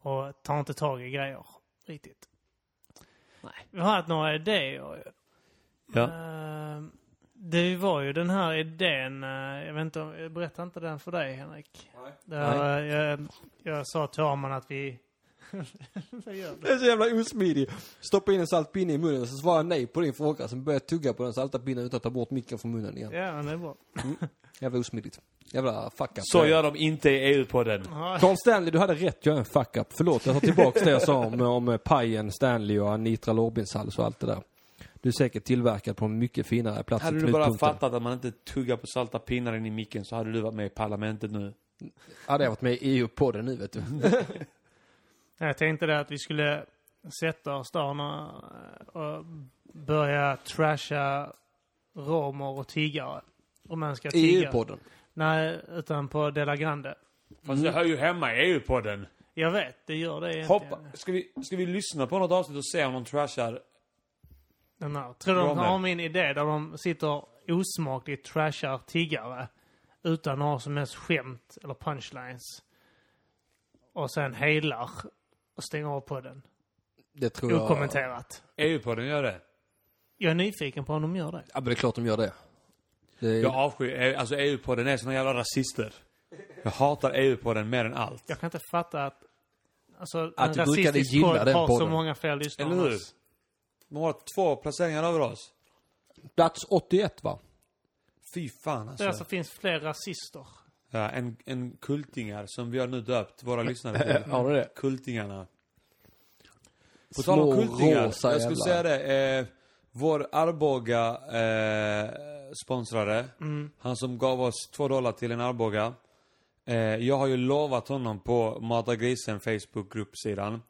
A: Och tar inte tag i grejer riktigt. Nej. Vi har haft några idéer ju.
B: ja.
A: Eh, Det var ju den här idén, eh, jag vet inte, om- jag berättade inte den för dig Henrik? Nej. Där, eh, jag, jag sa till Arman att vi... Vad gör du?
C: Det är så jävla osmidig. Stoppa in en salt pinne i munnen och så svarar jag nej på din fråga. Sen börjar jag tugga på den salta pinnen utan att ta bort micken från munnen igen.
A: Ja, men det är bra.
C: Jävla osmidigt. Jävla fuck up.
B: Så gör de inte i E EU-podden.
C: Carl Stanley, du hade rätt. Jag är en fuck up. Förlåt, jag tar tillbaka det jag sa om, om eh, pajen, Stanley och Anitra Lorbinsals och allt det där. Du är säkert tillverkad på en mycket finare plats
B: Hade
C: i
B: du bara
C: knutpunkten.
B: fattat att man inte tuggar på salta pinnar in i micken så hade du varit med i parlamentet nu.
C: Hade jag varit med i EU-podden nu vet du.
A: Nej, Jag tänkte det att vi skulle sätta oss där när- och börja trasha romer och tiggare. Om man ska
C: I E
A: tigga.
C: EU-podden.
A: Nej, utan på De La Grande.
B: Fast det hör ju hemma i E EU-podden.
A: Jag vet, det gör det egentligen.
B: Hoppa. Ska, vi, ska vi lyssna på något avsnitt och se om de trashar?
A: Den här. Tror du de
B: Romer.
A: har min idé där de sitter osmakligt trashar tiggare utan att ha som helst skämt eller punchlines. Och sen helar och stänger av podden.
C: Det tror jag.
A: Okommenterat.
B: EU-podden E gör det.
A: Jag är nyfiken på om de gör det.
C: Ja men det är klart de gör det. det är...
B: Jag avskyr EU. Alltså EU-podden är såna jävla rasister. Jag hatar EU-podden mer än allt.
A: Jag kan inte fatta att... Alltså,
C: Att
A: en
C: du brukade
A: rasistisk
C: gilla
A: podd
C: den
A: har så
C: podden.
A: många fler lyssnare
B: Eller
A: än
B: hur?
A: oss.
B: De har två placeringar över oss.
C: Plats 81 va?
B: Fy fan alltså.
A: Det alltså finns fler rasister.
B: Ja, en, en kultingar som vi har nu döpt våra lyssnare till.
C: Har du det?
B: Kultingarna. På
C: Små
B: tal om kultingar, jag
C: rosa
B: skulle säga
C: jävlar.
B: det. Eh, vår Arboga eh, sponsrare, han som gav oss två dollar till en Arboga. Eh, jag har ju lovat honom på Mata Grisen Facebookgruppsidan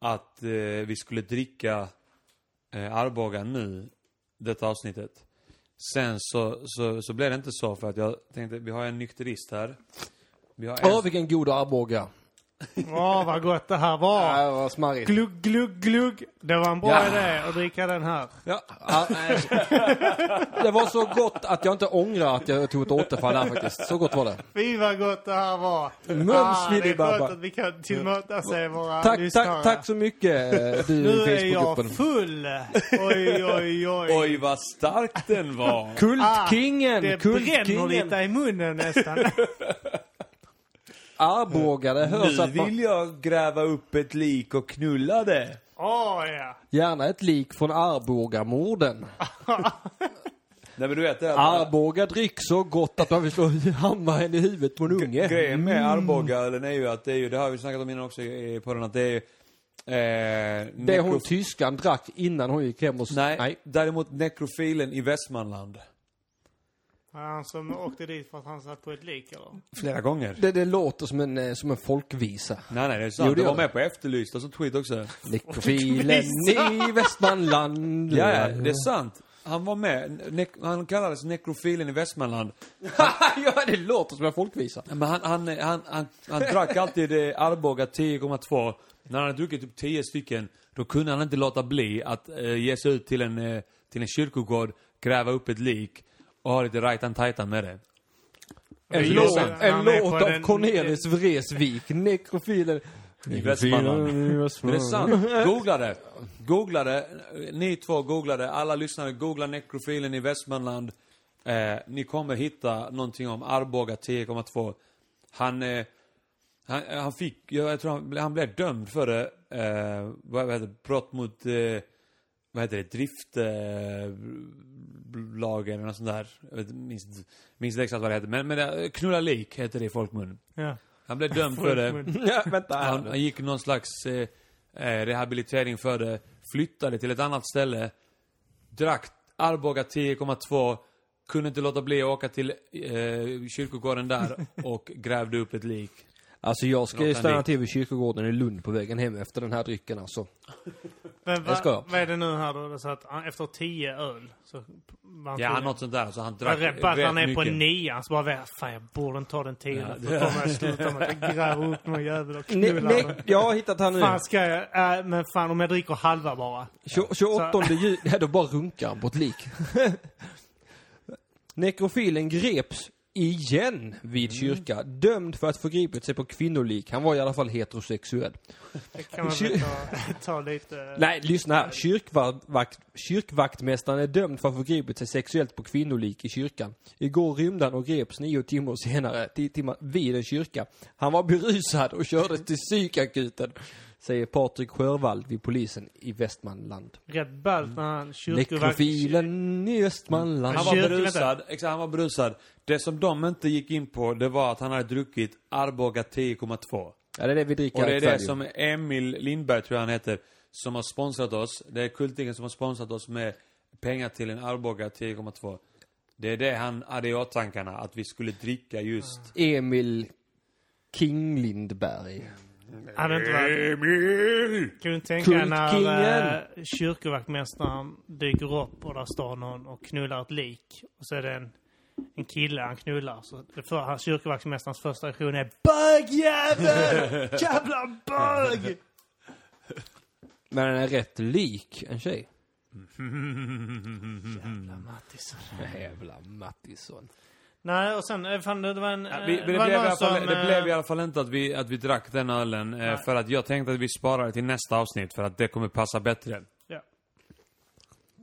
B: att eh, vi skulle dricka eh, Arboga nu, detta avsnittet. Sen så, så, så blev det inte så för att jag tänkte, vi har en nykterist här. Vi har en
C: Åh vilken god Arboga.
A: Åh, vad gott det här var.
C: det var smarrigt.
A: Glugg, glugg, glugg. Det var en bra
C: Ja.
A: idé att dricka den här.
C: Ja, ja, nej. det var så gott att jag inte ångrar att jag tog ett återfall här faktiskt. Så gott var det.
A: Fy vad gott det här var.
C: Mums,
A: det är
C: Filibabba.
A: skönt att vi kan tillmötesgå våra
C: Tack,
A: lyssnare.
C: tack, tack så mycket eh, du
A: Nu
C: i
A: är jag
C: Facebookgruppen.
A: full. Oj, oj, oj.
B: Oj, vad stark den var!
C: Kultkingen,
A: Ah, det bränner
C: Kultkingen.
A: lite i munnen nästan.
C: Arboga, det hörs
B: Nu
C: att man...
B: vill jag gräva upp ett lik och knulla det.
A: Åh Ah, ja.
C: Gärna ett lik från Arbogamorden.
B: Nej men du vet det att-
C: Arboga drick så gott att man vill slå hammaren i huvudet på en unge.
B: Grejen med Arbogaölen är ju att det är ju, det har vi snackat om innan också i podden, att det är ju... Eh,
C: Det hon
B: nekro-
C: tyskan drack innan hon gick hem och... s-
B: Nej, däremot nekrofilen i Västmanland.
A: Var det Han som åkte dit för att han satt på ett lik eller?
B: Flera gånger.
C: Det, det låter som en, eh, som en folkvisa.
B: Nej, nej, det är sant.
C: Jo, det
B: det var
C: gör det.
B: med på Efterlyst och sånt skit också.
C: Nekrofilen i Västmanland.
B: Ja, ja, det är sant. Han var med. Ne han kallades nekrofilen i Västmanland.
C: ja, det låter som en folkvisa.
B: Men han, han, han, han, han drack alltid eh, Arboga 10,2. När han hade druckit typ 10 stycken, då kunde han inte låta bli att eh, ge sig ut till en, eh, till en kyrkogård, gräva upp ett lik och ha lite rajtan tajtan med det.
C: En
A: Det är
C: låt,
A: sant.
C: en
A: Han är
C: låt
A: på
C: av
A: den-
C: Cornelis Vreeswijk, nekrofilen.
B: I Västmanland. Men det är sant. Googla det. Googla det. Ni två googlade. Alla lyssnare, googla nekrofilen i Västmanland. Eh, ni kommer hitta någonting om Arboga 10,2. Han, eh, han, han fick, jag tror han, han blev dömd för det. Eh, vad vad heter det? Brott mot, eh, vad heter det? Driftlagen eh, lagen eller något sånt där. Jag vet, minns, inte- minns inte exakt vad det heter. Men, men det- knulla lik heter det i folkmun.
A: Ja.
B: Han blev dömd för det.
C: Ja, vänta här
B: Han,
C: nu.
B: han gick någon slags eh, eh, rehabilitering för det. Flyttade till ett annat ställe. Drack Arboga 10,2. Kunde inte låta bli att åka till eh, kyrkogården där och grävde upp ett lik.
C: Alltså jag ska ju
B: Låt han
C: stanna
B: ligga.
C: till vid kyrkogården i Lund på vägen hem efter den här drycken alltså.
A: Men
C: Det ska jag.
A: va, vad är det nu här då? Det är Så att han, efter tio öl så... Man
B: Ja, något sånt där. Så han
A: Jag
B: drack
A: är rädd på att han är
B: rätt
A: på
B: mycket.
A: nian så bara vet, fan jag borde inte ta den tiden.
B: Ja,
A: För då kommer jag sluta med att jag gräver upp någon jävel och
C: Ne-
A: knullar
C: ne-
A: den.
C: jag har hittat han nu.
A: Fan ska jag, äh, men fan om jag dricker halva bara.
C: Tjo- 28 juli, ja, då bara runkar han på ett lik. Nekrofilen greps igen vid kyrka, dömd för att förgripit sig på kvinnolik. Han var i alla fall heterosexuell.
A: Det kan man väl ta, ta lite...
C: Nej, lyssna här. Kyrkvakt, kyrkvaktmästaren är dömd för att förgripit sig sexuellt på kvinnolik i kyrkan. Igår rymde han och greps nio timmar senare, tio timmar, vid en kyrka. Han var berusad och kördes till psykakuten, säger Patrik Sjörvall vid polisen i Västmanland.
A: Rätt ballt när han kyrkovakt...
C: Nekrofilen i Västmanland.
B: Han var
A: Kyrkan,
B: berusad. Exakt, han var berusad. Det som de inte gick in på, det var att han hade druckit Arboga 10,2.
C: Ja, det är det vi dricker
B: Och det är
C: ikväll
B: det
C: ju.
B: som Emil Lindberg, tror jag han heter, som har sponsrat oss. Det är Kultingen som har sponsrat oss med pengar till en Arboga 10,2. Det är det han hade i åtankarna, att vi skulle dricka just...
C: Emil King Lindberg.
A: Hade inte varit...
B: Emil!
A: Kan du tänka när
C: Kultkingen.
A: äh, kyrkovaktmästaren dyker upp och där står någon och knullar ett lik. Och så är det en, en kille han knullar. Så det för, hans kyrkovaktmästarens första reaktion är Bögjävel! Jävla bög!
C: Men den är rätt lik en tjej.
A: Jävla Mattisson.
C: Jävla Mattisson.
A: Nej, och sen, eh, fan det var en...
B: Ja,
A: eh,
B: vi, det,
A: det var
B: blev i
A: någon
B: alla fall,
A: som,
B: det
A: eh,
B: blev i alla fall inte att vi, att vi drack den ölen. eh, För att jag tänkte att vi sparar det till nästa avsnitt för att det kommer passa bättre.
A: ja.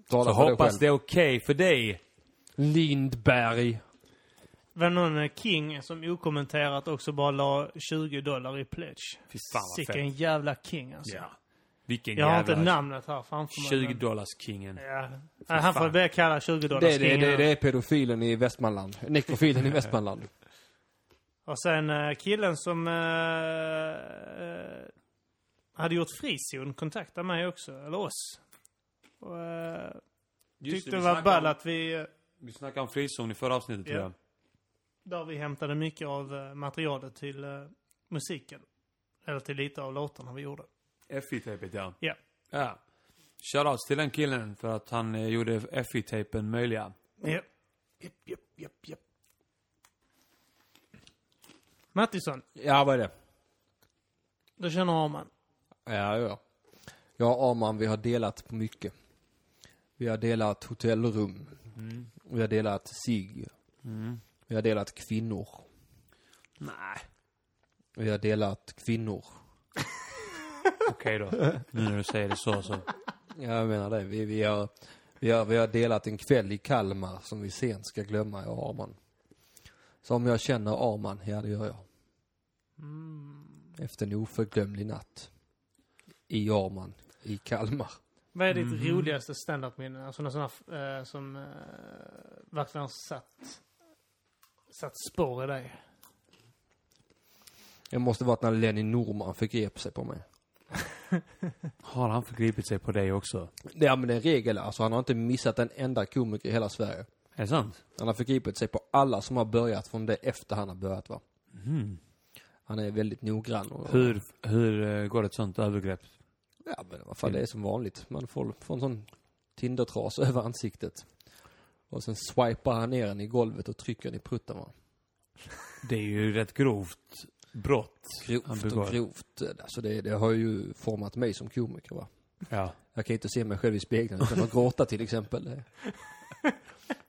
C: Tala
B: Så
C: för dig
B: hoppas
C: själv.
B: det är okej för dig.
C: Lindberg.
A: Det var någon eh, king som okommenterat också bara la 20 dollar i pledge.
B: Fy fan vad
A: Sicken
B: fett.
A: jävla king alltså.
B: Ja. Vilken
A: Jag har inte
B: jävla...
A: namnet här framför mig.
B: 20
A: men-
B: dollars kingen.
A: Ja. Nej, Han får
B: fan.
A: börja kalla 20
C: Det, det,
A: dollarskringan.
C: det, det är pedofilen i Västmanland. Nekrofilen i Västmanland.
A: Och sen eh, killen som eh, eh, hade gjort frizon kontaktade mig också, eller oss. Och, eh, tyckte det, var ball att vi, eh,
B: Vi snackade om frizon i förra avsnittet
A: Ja.
B: tror jag.
A: där vi hämtade mycket av eh, materialet till eh, musiken. Eller till lite av låtarna vi gjorde.
B: FI-tejpet ja.
A: Ja.
B: ja. Shoutouts till den killen för att han eh, gjorde FI-tejpen möjliga.
A: Ja. Japp, japp, japp, japp. Mattisson,
C: Ja, vad är det?
A: Det känner Arman.
C: Ja, ja. Jag och Arman, vi har delat på mycket. Vi har delat hotellrum. Vi har delat sig. Vi har delat kvinnor.
B: Nej.
C: Vi har delat kvinnor.
B: Okej då. Nu när du säger det så så.
C: Jag menar det. Vi, vi, har, vi, har, vi har delat en kväll i Kalmar som vi sent ska glömma, jag och Arman. Så om jag känner Arman, ja det gör jag. Efter en oförglömlig natt. I Arman, i Kalmar.
A: Vad är ditt roligaste standup-minne? Alltså någon sån här eh, som eh, verkligen har satt, satt spår i dig.
C: Det måste varit när Lenny Norman förgrep sig på mig.
B: Har han förgripit sig på dig också?
C: Ja men det är en regel, alltså han har inte missat en enda komiker i hela Sverige.
B: Är det sant?
C: Han har förgripit sig på alla som har börjat från det efter han har börjat va.
B: Mm.
C: Han är väldigt noggrann och...
B: Hur, hur eh, går ett sånt övergrepp?
C: Ja men vad fan, det är som vanligt. Man får, får en sån tindertras över ansiktet. Och sen swipar han ner den i golvet och trycker den i prutten va.
B: Det är ju rätt grovt brott. Han
C: Grovt och
B: begår.
C: grovt. Alltså det, det har ju format mig som komiker va.
B: Ja.
C: Jag kan inte se mig själv i spegeln utan att gråta till exempel. Det-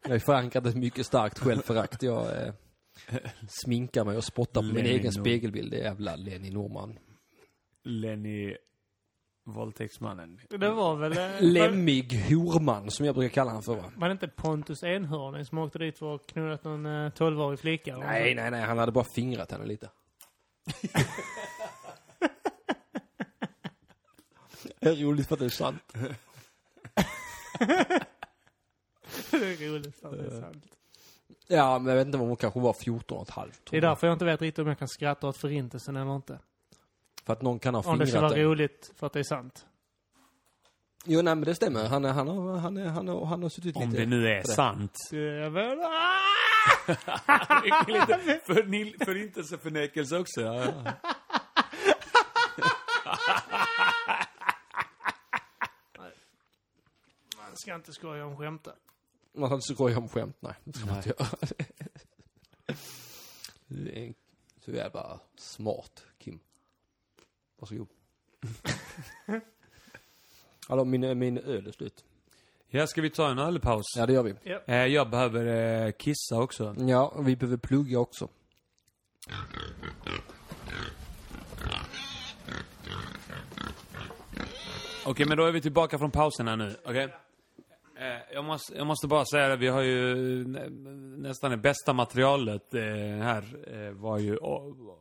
C: Jag är förankrad i ett mycket starkt självförakt. Jag eh, sminkar mig och spottar på min
B: Lenin
C: egen
B: Norman.
C: spegelbild. Det är jävla Lenin Norman.
B: Lenny, våldtäktsmannen.
A: Det var väl... eh, var,
C: Lemmig Horman som jag brukar kalla han för va?
A: var det inte Pontus Enhörning som åkte dit för att knullat någon eh, 12-årig flicka? eller
C: Nej, nej, nej. Han hade bara fingrat henne lite. det är roligt för att det är sant.
A: något? det är roligt. att Det är sant.
C: Ja, men jag vet inte om hon kanske var 14 och ett halvt.
A: Det är därför jag inte vet riktigt om jag kan skratta åt förintelsen eller inte.
C: För att någon kan ha
A: Om det ska
C: fingrat
A: vara
C: den.
A: roligt för att det är sant.
C: Jo, nej, men det stämmer. Han, är, han, har, han, är, han, har, han har suttit
B: Om
C: lite...
B: det nu är sant.
A: Så jag väl- Ah!
B: För, förintelseförnekelse också. Ja.
A: Man ska inte skoja om skämta.
C: Man ska inte skoja om skämt, nej. Det ska man inte göra. Du är en- så jävla smart, Kim. Varsågod. Hallå, min, min öl är slut.
B: ja, ska vi ta en ölpaus?
C: Ja, det gör vi.
B: Eh, Jag behöver eh, kissa också.
C: Ja, och vi behöver plugga också.
B: Okej, men då är vi tillbaka från pausen här nu. Okej? Eh, Jag, måste, jag måste bara säga det, vi har ju nä, nästan det bästa materialet eh, här eh, var ju å-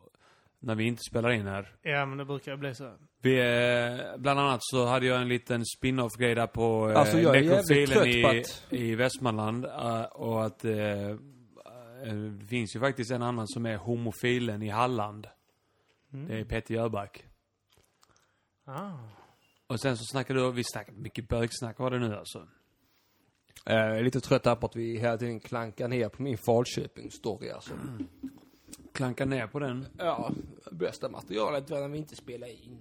B: när vi inte spelar in här.
A: Ja, men det brukar bli så.
B: Vi, eh, bland annat så hade jag en liten spin-off-grej där på eh,
C: Alltså, jag är jävligt
B: nekrofilen
C: trött på
B: i,
C: att-
B: i Västmanland. eh, och att eh, eh, det finns ju faktiskt en annan som är homofilen i Halland.
C: Mm.
B: Det är Peter Jöback.
A: Ah.
B: Och sen så snackade du, vi snackade mycket bögsnack var det nu alltså.
C: Eh, Jag är lite trött här på att vi hela tiden klankar ner på min Falköping-story alltså.
B: Klanka ner på den.
C: Ja, bästa materialet var när vi inte spelade in.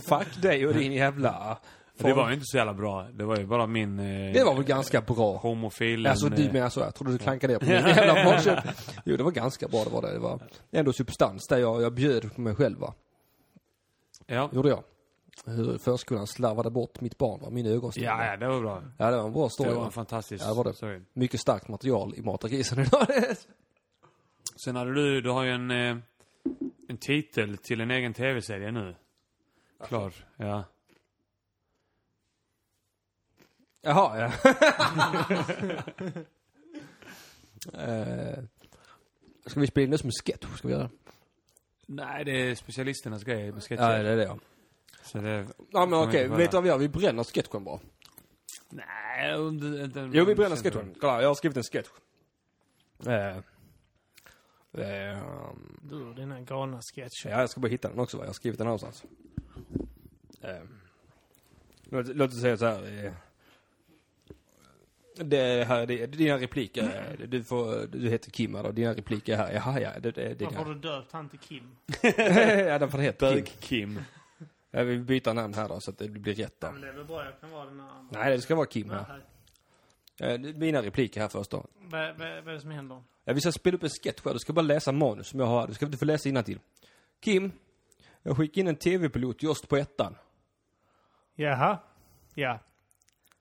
C: Fuck dig och din jävla...
B: Det var ju inte så jävla bra. Det var ju bara min eh,
C: det var väl ganska bra?
B: homofilen...
C: Alltså du
B: eh,
C: menar så, jag trodde du klankade ner på min jävla Falköping. Jo, det var ganska bra det var det. Det var ändå substans där jag, jag bjöd på mig själv va.
B: Ja.
C: Gjorde jag. Hur förskolan slarvade bort mitt barn va, min ögonsten.
B: ja, ja, det var bra.
C: ja, det var en bra
B: Det
C: story
B: var
C: va.
B: en fantastisk...
C: Ja, det var det.
B: Sorry.
C: Mycket starkt material i Matargrisen idag.
B: Sen hade du, du har ju en, eh, en titel till en egen tv-serie nu. Klar, ja.
C: Jaha, ja. Eh, ska vi spela in det som en sketch? Ska vi göra det?
B: Nej, det är specialisternas grej med sketcher.
C: Ja, det är det ja.
B: Så det...
C: Ja men
B: Kommer
C: okej,
B: inte på
C: vet
B: det.
C: du vad vi gör? Vi bränner sketchen bara.
B: Nej, om du inte...
C: Mm. Jo, vi bränner sketchen. Kolla, jag har skrivit en sketch. Eh, ehm,
A: Du och dina galna sketcher.
C: ja, jag ska bara hitta den också va? Jag har skrivit den här någonstans. Eh, låt, låt oss säga så här. Eh, det här, det, dina repliker,
A: Mm.
C: eh, du får, du heter Kim här då, dina repliker här, jaha ja, det, det, det
A: Varför har du döpt han till Kim?
C: ja, den får heta Kim.
B: Bög-Kim.
C: Jag vill byta namn här då så att det blir rätt
A: Ja,
C: då.
A: men det är väl bra, jag kan vara den här.
C: Nej, det ska vara Kim
A: Vad
C: här. Eh, Mina repliker här först då.
A: vad- vad är det som händer?
C: Ja, vi ska spela upp en sketch här. Du ska bara läsa manus som jag har. Du ska inte få läsa innantill. Kim, Jag skickade in en tv-pilot just på ettan.
A: Jaha. Ja.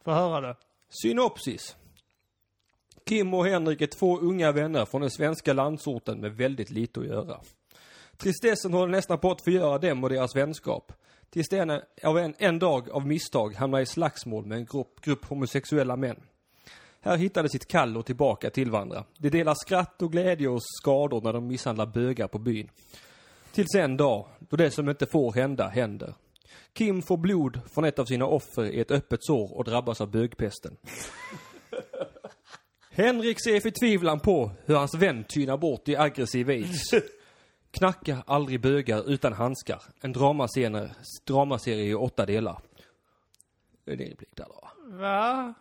A: Får höra det.
C: Synopsis. Kim och Henrik är två unga vänner från den svenska landsorten med väldigt lite att göra. Tristessen håller nästan på att förgöra dem och deras vänskap. Tills de en, av en, en dag av misstag hamnar i slagsmål med en grupp, grupp homosexuella män. Här hittar de sitt kall och tillbaka till varandra. De delar skratt och glädje och skador när de misshandlar bögar på byn. Tills en dag, då det som inte får hända, händer. Kim får blod från ett av sina offer i ett öppet sår och drabbas av bögpesten. Henrik ser i förtvivlan på hur hans vän tynar bort i aggressiv aids. Knacka aldrig bögar utan handskar. En dramaserie, dramaserie i åtta delar. Det är din replik där då. va?
A: Va?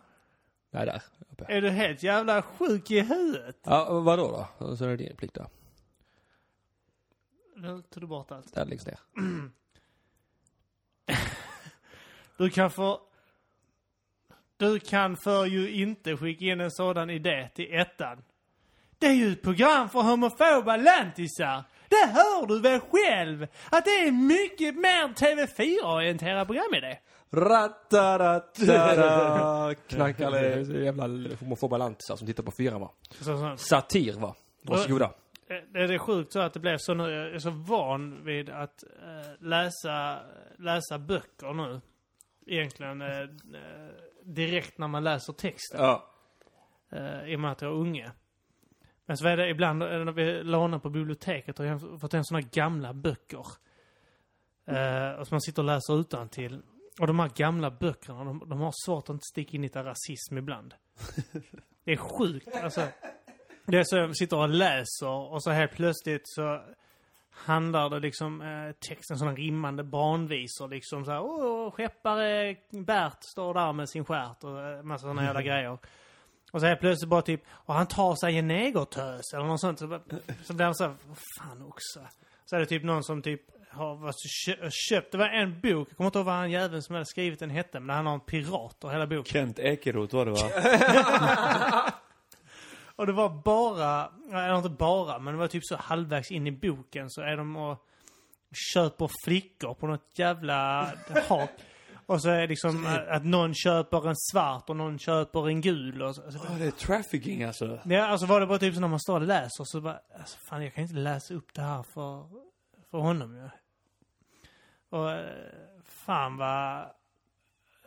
C: Nej, där. Uppe.
A: Är du helt jävla sjuk i huvudet?
C: Ja, vadå då? Så är det din replik där.
A: Nu tog du bort allt.
C: Där längst ner.
A: Du kan för... Du kan för ju inte skicka in en sådan idé till ettan. Det är ju ett program för homofoba lantisar. Det hör du väl själv? Att det är mycket mer TV4-orienterad programidé.
C: Ratarattara, knarkare, så jävla homofoba lantisar som tittar på fyran va.
A: Så, så,
C: Satir va. Varsågoda.
A: Det är det sjukt så att det blev så nu. Jag är så van vid att eh, läsa, läsa böcker nu. Egentligen eh, eh, direkt när man läser texten.
C: Ja.
A: eh, i och med att jag är unge. Men så är det ibland eh, när vi lånar på biblioteket och jag har fått hem sådana gamla böcker. Eh, och som man sitter och läser utan till. Och de här gamla böckerna, de, de har svårt att inte sticka in lite rasism ibland. Det är sjukt alltså. Det är så jag sitter och läser och så helt plötsligt så handlar det liksom eh, texten sådana rimmande barnvisor liksom så här, Åh, skeppare Bert står där med sin stjärt och eh, massa sådana jävla grejer. Och så helt plötsligt bara typ, och han tar sig en negertös eller något sånt. Så, bara- så blir han såhär, vad fan också. Så är det typ någon som typ har varit så kö- köpt, det var en bok, jag kommer inte ihåg vad han jäveln som hade skrivit den hette, men han har en pirat och hela boken.
B: Kent Ekeroth var det va?
A: Och det var bara, eller inte bara, men det var typ så halvvägs in i boken så är de och köper flickor på något jävla hak. Och så är det liksom att någon köper en svart och någon köper en gul. Och så. Alltså,
B: Ja, det är trafficking alltså.
A: Ja, alltså var det bara typ så när man står och läser så bara, alltså fan jag kan inte läsa upp det här för, för honom ju. Och eh, fan vad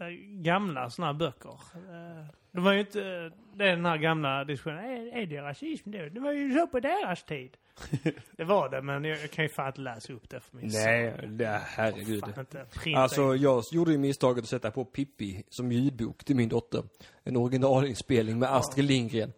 A: eh, gamla sådana här böcker. Eh, Det var ju inte, eh, det är den här gamla diskussionen, är, är det rasism då? Det var ju så på deras tid. det var det, men jag, jag kan ju fan inte läsa upp det för mig.
C: Nej, det, herregud.
A: Fan inte, printa in.
C: Alltså jag gjorde ju misstaget att sätta på Pippi som ljudbok till min dotter. En originalinspelning med Astrid Lindgren.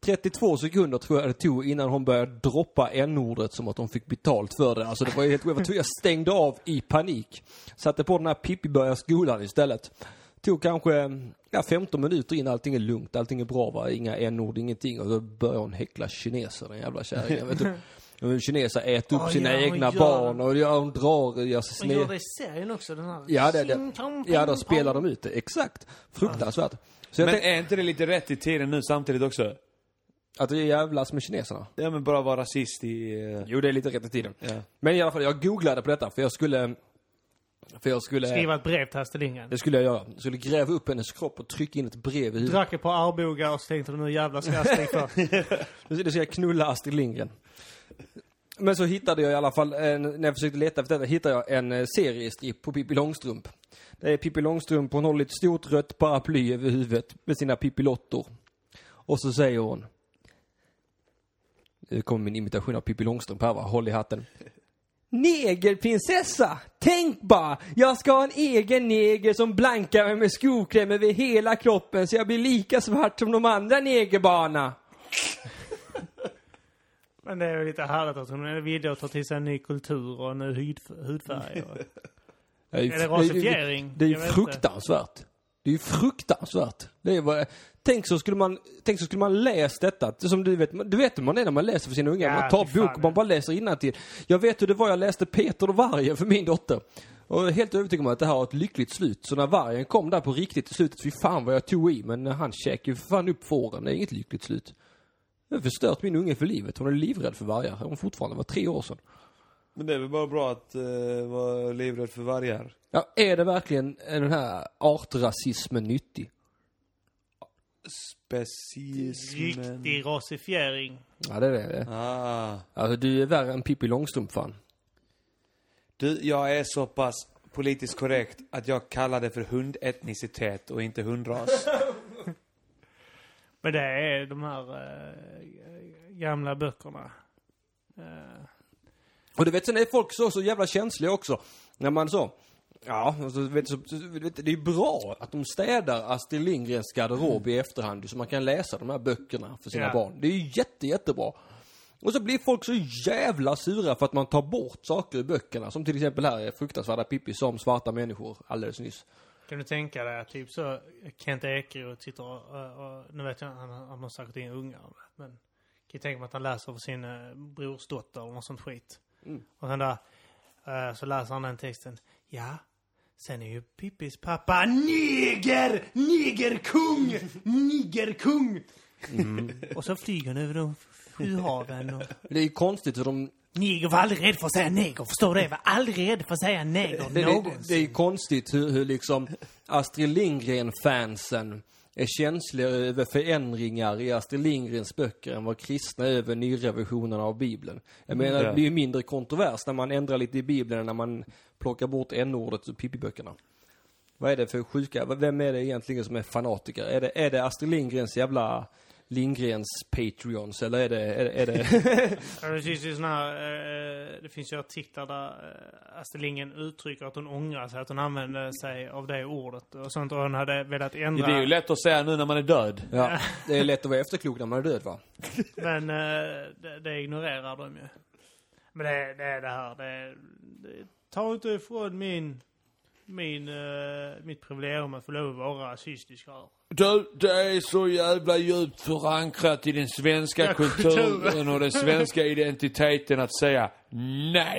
C: 32 sekunder tror jag det tog innan hon började droppa n-ordet som att hon fick betalt för det. Alltså det var ju helt jag var tvungen- Jag stängde av i panik. Satte på den här Pippi börjar skolan istället. Tog kanske ja, 15 minuter in, allting är lugnt, allting är bra va? Inga n-ord, ingenting. Och då börjar hon häckla kineser den jävla kärringen. vet du. Och Kineser äter upp
A: Ja,
C: sina
A: ja, hon
C: egna
A: gör
C: barn
A: det.
C: och ja, hon drar, gör sig
A: Och
C: sned.
A: gör det i serien också, den här...
C: Ja, det, det,
A: Tjing, tjong,
C: ja, då
A: pong,
C: spelar
A: pong.
C: de ut det. Exakt. Fruktansvärt. Så jag
B: Men
C: tänkte
B: är inte det lite rätt i tiden nu samtidigt också?
C: att det jävlas med kineserna.
B: Ja men bara vara rasist i... eh,
C: Jo, det är lite rätt i tiden.
B: Ja.
C: Men i alla fall, jag googlade på detta för jag skulle... För jag skulle...
A: Skriva ett brev till Astrid Lindgren.
C: Det skulle jag göra. Jag skulle gräva upp hennes kropp och trycka in ett brev i huvudet.
A: Drack ett par Arboga och så tänkte de nu jävlar ska jag sticka först.
C: Nu ska jag knulla Astrid Lindgren. Men så hittade jag i alla fall, en, när jag försökte leta efter detta, hittade jag en eh, seriestripp på Pippi Långstrump. Det är Pippi Långstrump, hon håller ett stort rött paraply över huvudet med sina pippilottor. Och så säger hon... Nu kommer min imitation av Pippi Långstrump här va, håll i hatten. Negerprinsessa! Tänk bara! Jag ska ha en egen neger som blankar mig med skokräm över hela kroppen så jag blir lika svart som de andra negerbarna.
A: Men det är ju lite härligt att hon är villig att ta till sig en ny kultur och en ny hud, hudfärg. Och...
C: Det är, ju-
A: Är det
C: det-
A: rasifiering?
C: Det är ju
A: Jag vet
C: fruktansvärt. Det är ju fruktansvärt. Det är vad, tänk, så skulle man, tänk så skulle man läst detta. Det är Som du, vet, du vet hur man är när man läser för sina unga.
A: Ja,
C: man tar
A: fy fan.
C: bok och man bara läser innantill. Jag vet hur det var jag läste Peter och vargen för min dotter. Och jag är helt övertygad om att det här har ett lyckligt slut. Så när vargen kom där på riktigt i slutet, fy fan vad jag tog i. Men han käkade ju för fan upp fåren. Det är inget lyckligt slut. Jag har förstört min unge för livet. Hon är livrädd för vargar. Hon fortfarande var tre år sedan.
B: Men det är väl bara bra att eh, vara livrädd för vargar.
C: Ja, är det verkligen eh, den här artrasismen nyttig?
B: Specismen.
A: Riktig rasifiering.
C: Ja, det är det.
B: Ah.
C: Alltså, du är värre än Pippi Långstrump fan.
B: Du, jag är så pass politiskt korrekt att jag kallar det för hundetnicitet och inte hundras.
A: Men det är de här eh, gamla böckerna. Eh,
C: Och du vet, sen är folk så, så jävla känsliga också. När man så, ja, alltså, vet, så, så- vet, det är bra att de städar Astrid Lindgrens garderob i efterhand så man kan läsa de här böckerna för sina
A: Ja.
C: barn. Det är ju jätte, jättebra. Och så blir folk så jävla sura för att man tar bort saker i böckerna. Som till exempel här är fruktansvärda Pippi som svarta människor alldeles nyss.
A: kan du tänka dig att typ så Kent Ekeroth sitter och, och, och, nu vet jag han, han har säkert inga ungar. Men kan ju tänka mig att han läser för sin eh, brors dotter eller något sånt skit.
C: Mm.
A: Och sen där, eh, så läser han den texten. Ja, sen är ju Pippis pappa neger! Negerkung! Nigerkung!
C: Mm.
A: och så flyger han över de sju haven och
C: Det är ju konstigt för de
A: Neger var aldrig rädd för att säga neger, förstår du det? Var aldrig rädd för att säga neger
C: Det, det, det är
A: någonsin.
C: ju konstigt hur, hur liksom Astrid Lindgren-fansen är känsliga över förändringar i Astrid Lindgrens böcker än vad kristna är över nyrevisionen av Biblen. Jag menar,
B: Ja.
C: det blir ju mindre kontrovers när man ändrar lite i Bibeln än när man plockar bort n-ordet ur Pippi-böckerna. Vad är det för sjuka, vem är det egentligen som är fanatiker? Är det, är det Astrid Lindgrens jävla Lindgrens Patreons eller är det, är det, är det
A: Ja, Det finns ju såna här, eh, det finns ju artiklar där eh, Astrid Lindgren uttrycker att hon ångrar sig, att hon använde sig av det ordet och sånt. Och hon hade velat ändra.
B: Det är ju lätt att säga nu när man är död.
C: ja, det är lätt att vara efterklok när man är död va?
A: Men eh, det, det ignorerar de ju. Men det, det är det här, det, det ta inte ifrån min, min, eh, mitt privilegium att få lov att vara rasistisk här.
B: Du, det är så jävla djupt förankrat i den svenska
A: Ja, kulturen.
B: kulturen och den svenska identiteten att säga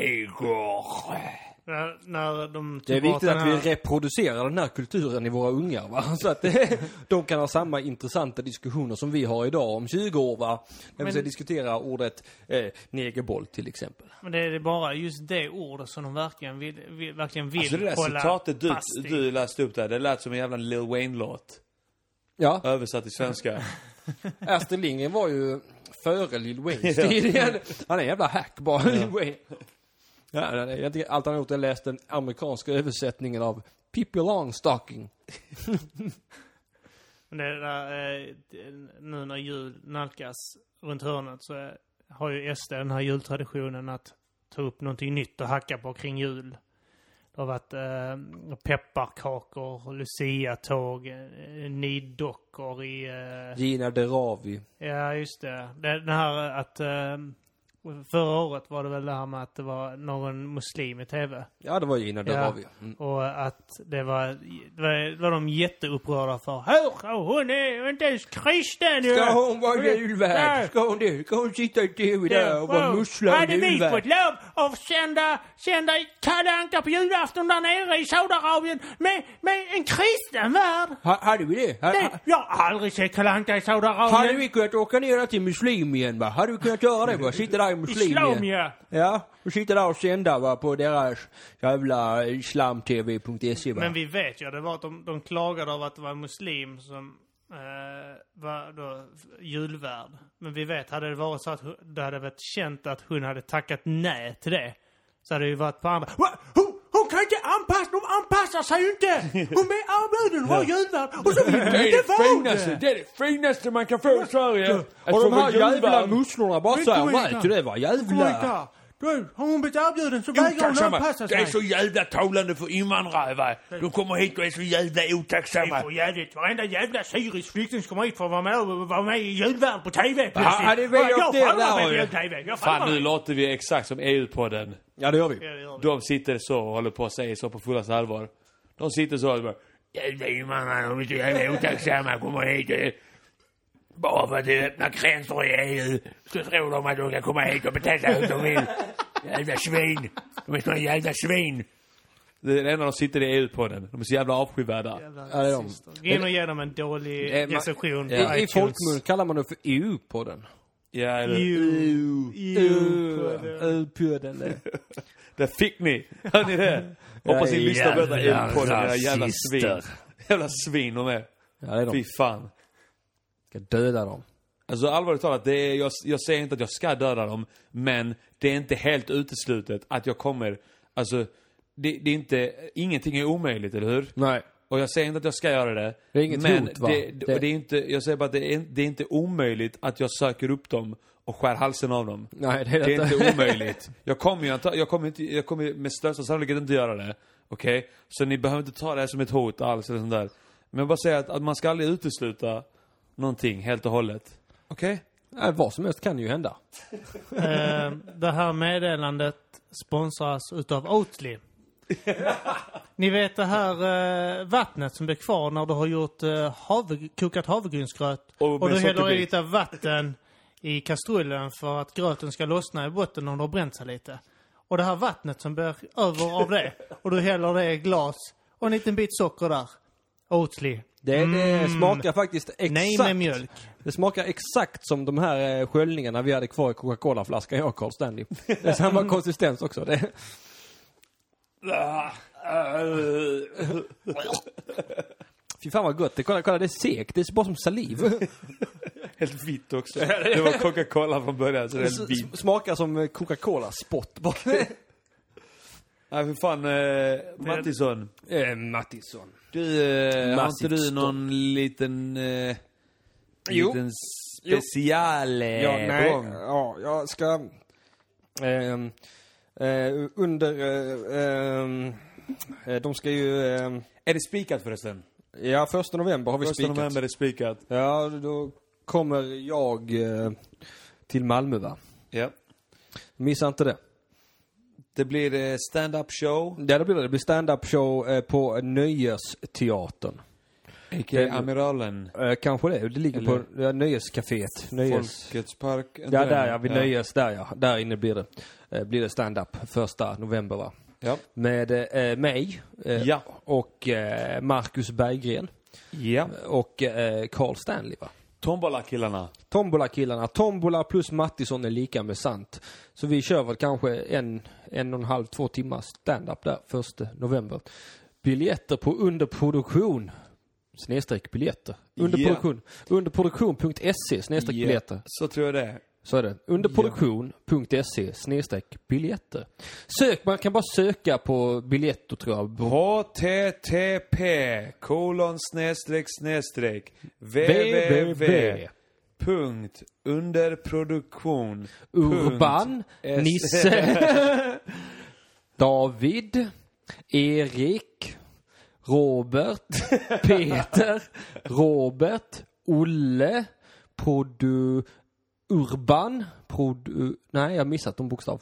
B: neger.
A: När, när de tog
C: Det är
A: bort
C: viktigt
A: den
C: att
A: här-
C: vi reproducerar den här kulturen i våra ungar va? Så att eh, de kan ha samma intressanta diskussioner som vi har idag om 20 år va? När vi ska
A: Men-
C: diskutera ordet eh, negerboll till exempel.
A: Men det är det bara just det ordet som de verkligen vill, vill, verkligen vill
B: Alltså det där
A: hålla
B: citatet du,
A: fast i.
B: du läste upp där, det lät som en jävla Lil Wayne-låt.
C: Ja, Eh,
B: Översatt till svenska.
C: Astrid Lindgren var ju före Lil Waynes tid. Han är en jävla hack bara, Lil Wayne. Ja, det är- jag tycker allt han har gjort är läst den amerikanska översättningen av Pippi Longstocking.
A: Men det där, eh, det- nu när jul nalkas runt hörnet så eh, har ju SD den här jultraditionen att ta upp någonting nytt och hacka på kring jul. Det har varit eh, pepparkakor, luciatåg, eh, niddockor i... Eh,
C: Gina Deravi.
A: ja, just det. det. Den här att... Eh, förra året var det väl det här med att det var någon muslim i tv.
C: Ja, det var Gina Deravi. Mm.
A: Och att det var, det var, det var de jätteupprörda för. Hur, hon är inte ens kristen ju!
C: Ska hon vara julvärd? Ska hon det? Ska hon sitta i tv där och vara mussla och
A: Hade vi
C: julvärd?
A: fått lov att sända, sända Kalle Anka på julafton där nere i Saudiarabien med, med en kristen värld?
C: Ha- Hade vi det? Ha-
A: Det,
C: ha-
A: jag har aldrig sett Kalle Anka i
C: Hade
A: Saudiarabien.
C: vi kunnat åka ner till muslim igen va? Hade vi kunnat göra det va? Sitta där i muslim
A: Islam
C: igen.
A: ja.
C: Ja, och sitta där och sända va på deras jävla islamtv.se va.
A: Men vi vet ju, det var att de, de klagade av att det var en muslim som eh, var då julvärd. Men vi vet, hade det varit så att hu- det hade varit känt att hon hade tackat nej till det, så hade det ju varit på andra. "Va? Hon, hon kan inte anpassa, de anpassar sig ju inte! Hon är erbjuden att vara julvärd och så vill hon inte vara det!
B: det är det finaste man kan få i Sverige!
C: och de här jävla musslorna bara såhär, nej till det va, jävla.
A: Pojkar, Du, har hon blivit erbjuden så vägrar hon anpassa sig.
B: jävla talande för invandrare va. De kommer hit och är så jävla
A: Det är
B: otacksamma.
A: för jävligt. Varenda jävla syrisk flykting som kommer hit får vara med och vara med i julvärd på TV plötsligt.
C: hade vi
A: Ja,
C: gjort det
A: Jag fattar
C: där,
A: mig
C: ju.
A: på TV. Jag fattar
B: Fan nu
A: mig.
B: låter vi exakt som E EU-podden.
C: Ja det gör vi.
A: Ja, det gör vi.
B: De sitter så och håller på och säger så på fullaste allvar. De sitter så och bara... Jävla invandrare, de är så jävla otacksamma, kommer hit och... Bara för att det öppnar gränser i EU så tror de att de kan komma hit och bete sig hur de vill. Jävla svin. De är såna jävla svin. Det är det enda de sitter i EU-podden. De är så jävla avskyvärda.
C: Ja, det är de.
A: Gå in och ge dem en dålig
C: Det är-
A: recension på
C: I, I
A: iTunes.
C: folkmun kallar man det för EU-podden.
B: Ja, eller...
A: Ew. Ew.
C: Ew på den där.
B: Där fick ni! Hör ni det? Hoppas ni lyssnar på detta i podden, era jävla svin. Jävla svin de är.
C: Ja, det är de.
B: Fy fan.
C: Ska döda dem.
B: Alltså allvarligt talat, det är, jag, jag säger inte att jag ska döda dem, men det är inte helt uteslutet att jag kommer... Alltså, det, det är inte... Ingenting är omöjligt, eller hur?
C: Nej.
B: Och jag säger inte att jag ska göra det.
C: Det är inget
B: men
C: hot, va?
B: Det, det,
C: Det-
B: och det är inte, jag säger bara att det är, det är inte omöjligt att jag söker upp dem och skär halsen av dem.
C: Nej, det är,
B: Det är inte omöjligt. Jag kommer ju anta, jag kommer, inte, jag kommer med största sannolikhet inte göra det. Okej? Så ni behöver inte ta det här som ett hot alls eller sånt där. Men jag bara säger att, att man ska aldrig utesluta någonting helt och hållet. Okej?
C: Nej, vad som helst kan ju hända.
A: Eh, det här meddelandet sponsras utav Oatly. Ni vet det här eh, vattnet som blir kvar när du har gjort eh, havre, kokat havregrynsgröt
B: Och
A: och,
B: med
A: du häller i
B: sockerbit.
A: lite vatten i kastrullen för att gröten ska lossna i botten om du har bränt sig lite. Och det här vattnet som blir över av det och du häller det i glas och en liten bit socker där. Oatly.
C: Det, det smakar faktiskt exakt.
A: Mm. Nej med mjölk.
C: Det smakar exakt som de här eh, sköljningarna vi hade kvar i Coca-Cola-flaskan, jag och Carl Stanley. Det är samma
A: Mm.
C: konsistens också. Det, Eh,
B: Eh,
C: fy fan vad gott. Det, kolla, kolla, det är sekt. Det är bara som saliv.
B: Helt vitt också. Det var Coca-Cola från början, så det är helt vitt.
C: Det smakar som eh, Coca-Cola-spott.
B: Nej, för fan. Eh, Mattisson.
C: eh, Mattisson.
B: Du, eh, har inte
C: Massivt
B: du
C: stopp.
B: någon liten... Eh,
C: Jo.
B: Liten special eh,
C: Ja, nej,
B: gång?
C: ja, jag ska... ehm, eh, under... eh, ehm, eh, de ska ju... ehm,
B: Är det spikat förresten?
C: ja, första november har vi
B: Första
C: spikat.
B: november är det spikat.
C: Ja, då kommer jag eh, till Malmö va?
B: Ja.
C: Missa inte det.
B: Det blir eh, stand-up show.
C: Ja, det blir det. Det blir stand-up show eh, på Nöjesteatern.
B: A.k.a. Amiralen.
C: Eh, kanske det. Det ligger på ja, Nöjescaféet. Nöjes...
B: Folkets park.
C: Ja, där ja. Vid Nöjes, där ja. Där inne blir det. Eh, blir det stand-up första november va?
B: Ja.
C: Med eh, mig eh,
B: Ja.
C: och eh, Marcus Berggren
B: ja.
C: och eh, Carl Stanley va?
B: Tombola-killarna.
C: Tombola-killarna. Tombola plus Mattisson är lika med sant. Så vi kör väl kanske en, en och en halv, två timmar stand-up där första november. Biljetter på underproduktion. Snedstreck biljetter. Underproduktion. Underproduktion.se snedstreck biljetter.
B: Ja, Så tror jag det är.
C: Så är det. Underproduktion.se E, snedstreck biljetter. Sök, man kan bara söka på biljetter tror jag.
B: HTTP kolon snedstreck snedstreck
C: www.
B: www punkt underproduktion
C: Urban,
B: S.
C: Nisse, David, Erik, Robert, Peter, Robert, Olle, Produ... Urban, produ... Nej, jag har missat någon bokstav.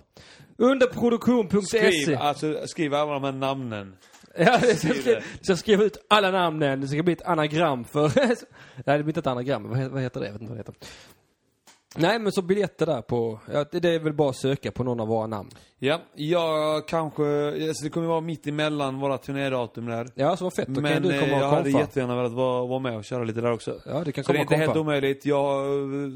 C: Underproduktion.se
B: Skriv, alltså, skriv alla de här namnen.
C: Ja, det ska,
B: Skriv det.
C: så jag skrev ut alla namnen, det ska bli ett anagram för... Nej, det blir inte ett anagram, vad he- vad heter det? Jag vet inte vad det heter. Nej, men så biljetter där på... Ja, det- det är väl bara att söka på någon av våra namn.
B: Ja, jag kanske... Alltså det kommer vara mitt emellan våra turnédatum där.
C: Ja, så vad fett. Då kan
B: Men
C: du
B: eh,
C: komma
B: jag
C: och
B: hade
C: konfa.
B: jättegärna velat vara, vara med och köra lite där också.
C: Ja, du kan
B: Så det
C: komma
B: är
C: och
B: inte helt
C: konfa.
B: omöjligt. Jag eh,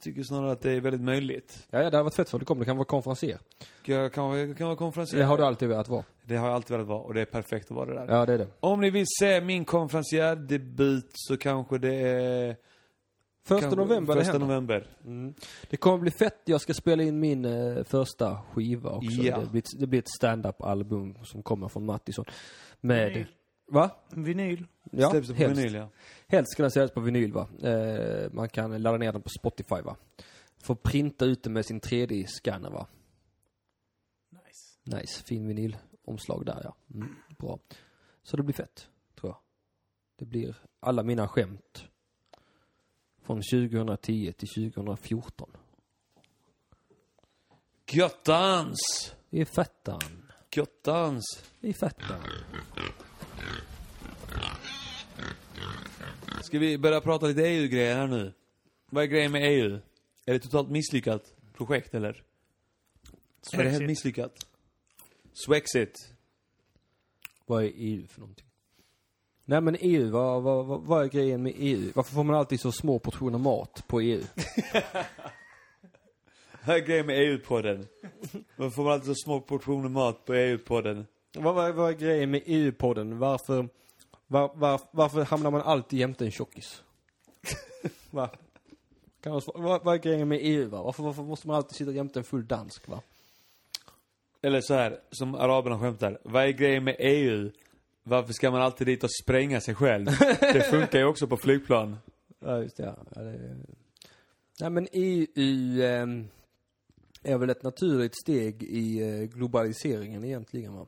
B: tycker snarare att det är väldigt möjligt.
C: Ja, ja, det hade varit fett så. Du kommer, du kan vara konferenser.
B: Jag kan, jag kan vara konferencier.
C: Det har du alltid velat vara.
B: Det har jag alltid velat vara och det är perfekt att vara det där.
C: Ja, det är det.
B: Om ni vill se min konferencierdebut så kanske det är...
C: Första
B: kanske-
C: november det
B: Första
C: händer.
B: november.
C: Det kommer bli fett. Jag ska spela in min eh, första skiva också.
B: Ja.
C: Det, blir ett, det blir ett stand-up-album som kommer från Mattisson. Med... Va?
A: Vinyl.
C: Ja,
B: Släpps det på
C: helst.
B: vinyl, ja.
C: Helst ska den säljas på vinyl va. Eh, man kan ladda ner den på Spotify va. Får printa ut den med sin 3D-scanner va.
A: Nice.
C: Nice, fin vinylomslag där ja. Mm, bra. Så det blir fett, tror jag. Det blir alla mina skämt. Från 2010 till 2014.
B: Göttans!
C: Det är fettan.
B: Göttans!
C: Det är fettan.
B: Ska vi börja prata lite EU-grejer här nu? Vad är grejen med EU? Är det totalt misslyckat projekt eller? Är det helt
A: Swexit.
B: misslyckat? Swexit.
C: Vad är EU för någonting? Nej men EU, vad, vad, E vad, vad är grejen med EU? Varför får man alltid så små portioner mat på EU?
B: Här är grejen med EU-podden. Varför får man alltid så små portioner mat på E EU-podden?
C: Vad, vad, vad är grejen med EU-podden? Varför, var, var, varför hamnar man alltid jämte en tjockis? va? Kan man, svara- vad, vad är grejen med EU? Va? Varför, varför måste man alltid sitta jämte en full dansk? Va?
B: Eller så här, som araberna skämtar. Vad är grejen med EU? Varför ska man alltid dit och spränga sig själv? Det funkar ju också på flygplan.
C: Ja, just det. Ja. Ja, det Nej, men EU ehm, är väl ett naturligt steg i eh, globaliseringen egentligen. Va?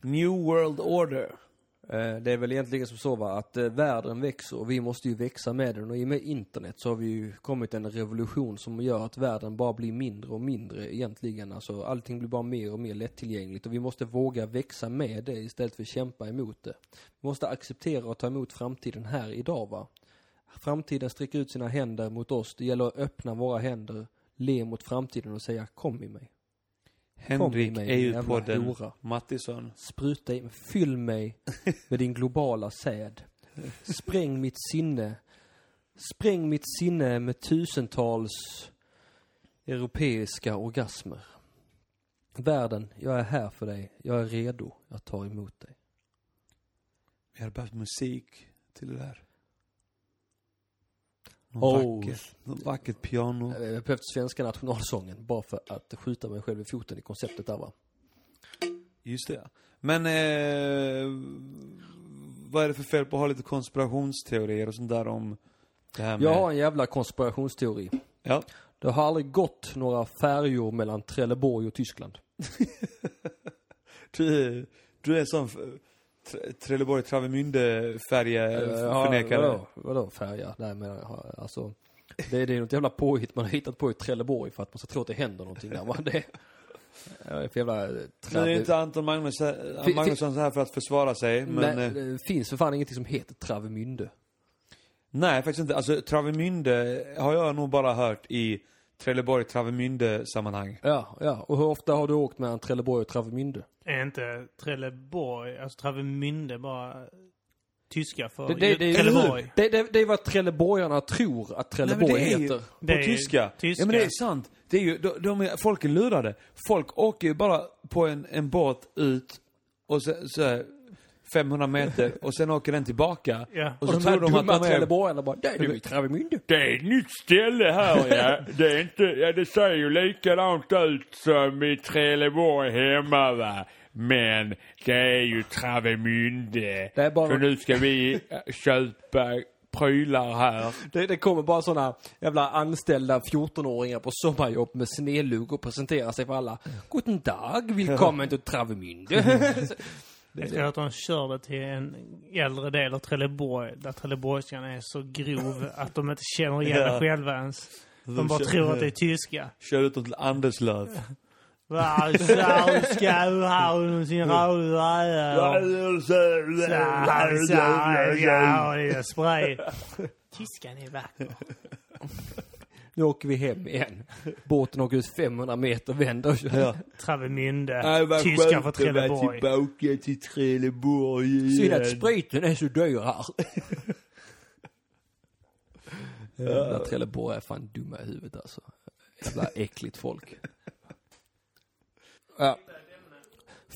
B: New World Order.
C: Eh, Det är väl egentligen som så va, att eh, världen växer och vi måste ju växa med den och i och med internet så har vi ju kommit en revolution som gör att världen bara blir mindre och mindre egentligen. Alltså allting blir bara mer och mer lättillgängligt och vi måste våga växa med det istället för att kämpa emot det. Vi måste acceptera och ta emot framtiden här idag va. Framtiden sträcker ut sina händer mot oss, det gäller att öppna våra händer, le mot framtiden och säga kom i mig.
B: Henrik
C: Kom i mig, din jävla
B: EU-podden
C: hora.
B: Mattisson.
C: Spruta i mig, fyll mig med din globala säd. Spräng mitt sinne. Spräng mitt sinne med tusentals europeiska orgasmer. Världen, jag är här för dig. Jag är redo. Jag tar emot dig.
B: Vi hade behövt musik till det där. Någon
C: Oh.
B: vackert, något vackert piano.
C: Jag har behövt svenska nationalsången bara för att skjuta mig själv i foten i konceptet där va.
B: Just det. Men eh, vad är det för fel på att ha lite konspirationsteorier och sånt där om det här med...
C: Jag har en jävla konspirationsteori.
B: Ja.
C: Det har aldrig gått några färjor mellan Trelleborg och Tyskland.
B: Du, är- du är sån f- Tre- Trelleborg Travemünde färjeförnekare.
C: Eh, Vadå, vadå färja? Nej men ja, alltså. Det, det är något jävla påhitt man har hittat på i Trelleborg för att man ska tro att det händer någonting där. va? Det jag är för jävla eh,
B: Nu är
C: trave...
B: inte Anton Magnus,
C: Fi- fi-
B: Magnusson så här för att försvara sig, men...
C: Nej,
B: eh,
C: det finns för fan ingenting som heter Travemünde.
B: Nej, faktiskt inte. Alltså Travemünde har jag nog bara hört i Trelleborg Travemünde sammanhang.
C: Ja, ja. Och hur ofta har du åkt mellan Trelleborg och Travemünde?
A: Är inte Trelleborg, alltså Travemünde bara tyska för
C: Det, det, det,
A: Trelleborg?
C: det, det, det, det är vad trelleborgarna tror att Trelleborg
B: Nej, men det är ju-
C: heter.
B: På
A: Det är ju
B: tyska.
A: tyska.
B: Ja men det är sant. Det är ju, de, de är, folk är lurade. Folk åker ju bara på en, en båt ut och så, så här, 500 meter och sen åker den tillbaka.
A: Ja.
B: Och
C: Och
B: så
C: de
B: tror
C: här
B: de att
C: dumma
B: de är...
C: trelleborgarna bara, nej det är ju Travemünde.
B: Det är ett nytt ställe här ja. Det är inte, ja det ser ju likadant ut som i Trelleborg hemma va. Men det är ju Travemünde.
C: Det är bara- Så nu
B: ska vi eh, köpa prylar här.
C: Det, det kommer bara såna jävla anställda 14-åringar på sommarjobb med snedlugg och presenterar sig för alla. Guten Tag, välkommen till Travemünde.
A: Efter att de kör det till en äldre del av Trelleborg, där trelleborgskan är så grov att de inte känner igen
B: Ja.
A: det själva ens. De bara
B: kör-
A: tror att det är tyska.
B: Kör ut dem till Anderslöv.
A: Varsaska, Uhaun, sin rauda spray. Tyskan är vacker.
C: nu åker vi hem igen. Båten åker ut 500 meter, vänder och kör.
B: Ja.
A: Travemünde.
B: Nej, vad
A: Tyskan
B: skönt
A: från
B: att vara
A: Trelleborg.
B: tillbaka till Trelleborg
C: Synd att
B: igen.
C: spriten är så dyr här. Jävla Trelleborg är fan dumma i huvudet alltså. Jävla äckligt folk. Ja.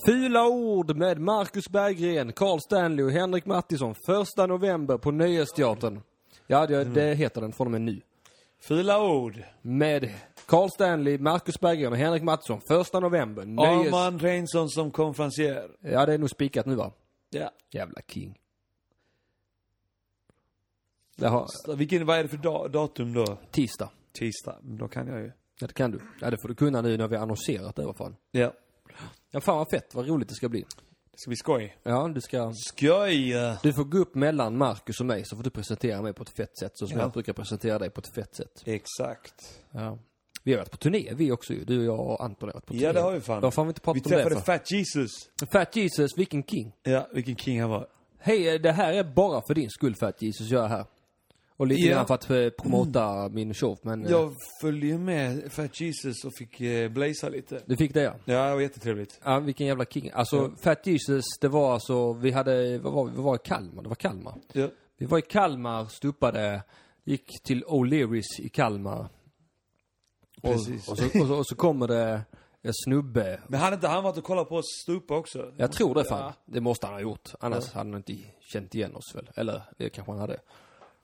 C: Fula ord med Marcus Berggren, Carl Stanley och Henrik Mattisson. Första november på Nöjesteatern. Ja, det, det heter den från och med nu.
B: Fula ord.
C: Med Carl Stanley, Marcus Berggren och Henrik Mattisson. Första november. Nöjes...
B: Armand Reinsson som konferencier.
C: Ja, det är nog spikat nu va?
B: Ja.
C: Jävla king. Jaha,
B: Så Vilken, vad är det för da- datum då?
C: tisdag.
B: Tisdag. Då kan jag ju.
C: Ja, det kan du. Ja, det får du kunna nu när vi har annonserat det i alla fall.
B: Ja.
C: Ja, fan vad fett, vad roligt det ska bli.
B: Det ska bli skoj.
C: Ja, du ska...
B: Skoj!
C: Du får gå upp mellan Marcus och mig så får du presentera mig på ett fett sätt. Så som
B: Ja.
C: jag brukar presentera dig på ett fett sätt.
B: Exakt.
C: Ja. Vi har varit på turné vi också ju. Du, och jag och Anton har varit på turné.
B: Ja, det har vi fan.
C: Då fan vi inte
B: Vi
C: pratat om det alltså.
B: träffade
C: för.
B: Fat Jesus.
C: Fat Jesus, vilken king.
B: Ja, vilken king han var.
C: Hej, eh, det här är bara för din skull Fat Jesus, jag är här. Och lite
B: Ja.
C: grann för att eh, promota min show, men... eh,
B: Jag följde ju med Fat Jesus och fick eh, blaza lite.
C: Du fick det ja.
B: Ja, det var jättetrevligt.
C: Ja, vilken jävla king. Alltså, Fat Jesus, det var alltså, vi hade, vad var vi? Vi var i Kalmar, det var Kalmar.
B: Ja.
C: Vi var i Kalmar, stupade, gick till O'Learys i Kalmar. Och, och,
B: Precis.
C: så, och, så, och så kommer det en snubbe.
B: Men hade inte han varit och kollat på oss stupa också?
C: Jag tror det fan. Det måste han ha gjort. Annars hade han inte känt igen oss väl. Eller det kanske han hade.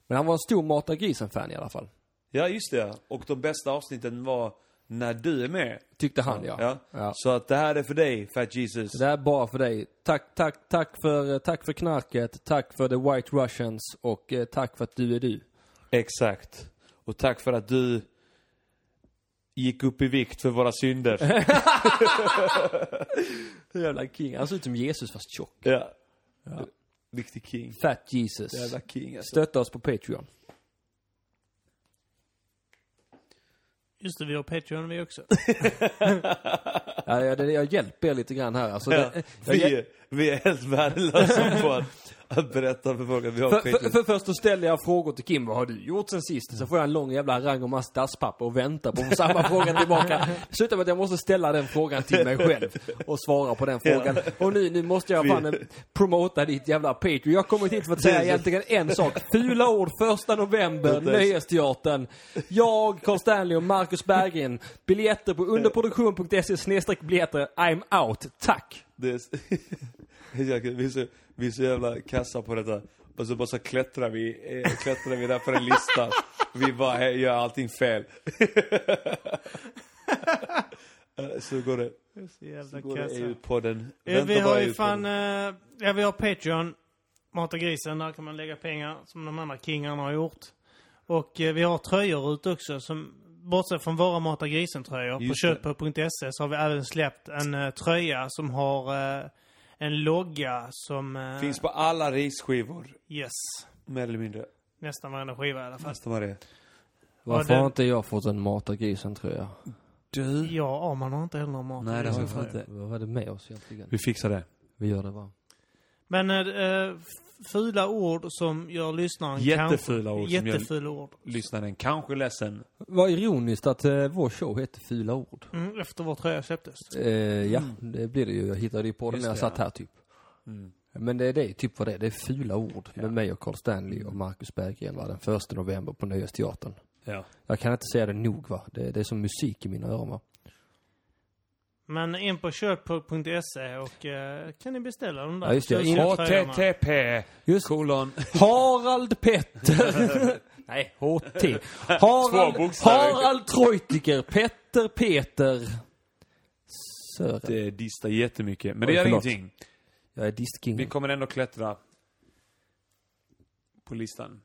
C: Men han var en stor Mata Grisen-fan i alla fall.
B: Ja, just det. ja. Och de bästa avsnitten var när du är med.
C: Tyckte han ja.
B: Ja.
C: Ja.
B: Så att det här är för dig, Fat Jesus.
C: Det där är bara för dig. Tack, tack, tack för, eh, tack för knarket, tack för the white russians och eh, tack för att du är du.
B: Exakt. Och tack för att du gick upp i vikt för våra synder.
C: Jävla king. Han ser ut som Jesus fast tjock.
B: ja. Riktig king.
C: Fat Jesus.
B: Jävla king alltså.
C: Stötta oss på Patreon.
A: Just det, vi har Patreon vi också.
C: Ja, jag, det- jag hjälper er lite grann här. Alltså,
B: Ja,
C: det, jag, hjäl-
B: vi, är- vi är helt värdelösa på att, att berätta för folk att vi har
C: för,
B: Patreon.
C: för, för först så ställer jag frågor till Kim. Vad har du gjort sen sist? Så får jag en lång jävla rang och massa dasspapper och väntar på samma fråga tillbaka. Det slutar med att jag måste ställa den frågan till mig själv och svara på den frågan. Och nu, nu måste jag fan eh, promota ditt jävla Patreon. Jag har kommit hit för att säga egentligen en sak. Fula ord, första november, Nöjesteatern. Jag, Carl Stanley och Marcus Berggren. Biljetter på underproduktion.se snedstreck biljetter. I'm out. Tack!
B: Det är, s- Jag kan- vi, är så, vi är så jävla kassa på detta. Och så bara så klättrar vi, eh, klättrar vi där på en lista. Vi bara eh, gör allting fel. Eh, så går det.
A: Så jävla
B: Så går det
A: kassa.
B: EU-podden.
A: Eh, Vi
B: Vänta
A: har
B: bara
A: ju fan,
B: EU-podden.
A: eh, ja vi har Patreon, Mata Grisen, där kan man lägga pengar som de andra kingarna har gjort. Och eh, vi har tröjor ut också som, bortsett från våra Mata Grisen-tröjor, på
B: Just det.
A: köp.se E, så har vi även släppt en eh, tröja som har eh, en logga som... eh,
B: Finns på alla risskivor.
A: Yes.
B: Mer eller mindre.
A: Nästan varenda skiva i alla fall.
B: Nästan vad det är.
C: Varför
A: Ja, det-
C: har inte jag fått en Mata Grisen-tröja?
B: Du.
A: Ja, man har inte heller någon Mata
B: Nej, det har vi
A: Grisen-tröja.
B: fan inte.
C: Vad var det med oss egentligen?
B: Vi fixar det.
C: Vi gör det va?
A: Men eh, eh, fula ord som gör lyssnaren
B: Jättefula ord som
A: kanske,
B: gör-
A: Jättefula ord.
B: Lyssnaren kanske ledsen.
C: Vad ironiskt att eh, vår show heter Fula ord.
A: Mm, efter vår tröja släpptes.
C: Eh, ja, det blir det ju. Jag hittade ju på det när jag satt här typ. Men det är det, typ vad det är. Det är fula ord med mig och Carl Stanley och Marcus Berggren va? den 1 november på Nöjesteatern.
B: Ja.
C: Jag kan inte säga det nog va. Det, det är som musik i mina öron va.
A: Men in på köp.se och eh, kan ni beställa de där
C: Ja, just det.
A: tusen tröjorna.
B: HTTP.
C: Just
B: Kolon.
C: Harald Petter. Nej, HT. Harald,
B: Två bokstäver.
C: Harald Treutiger, Petter Peter. Sören.
B: Det distar Eh, jättemycket. Men
C: Oj,
B: det gör
C: förlåt. Typ.
B: ingenting.
C: Jag är distkingen.
B: Vi kommer ändå klättra på listan.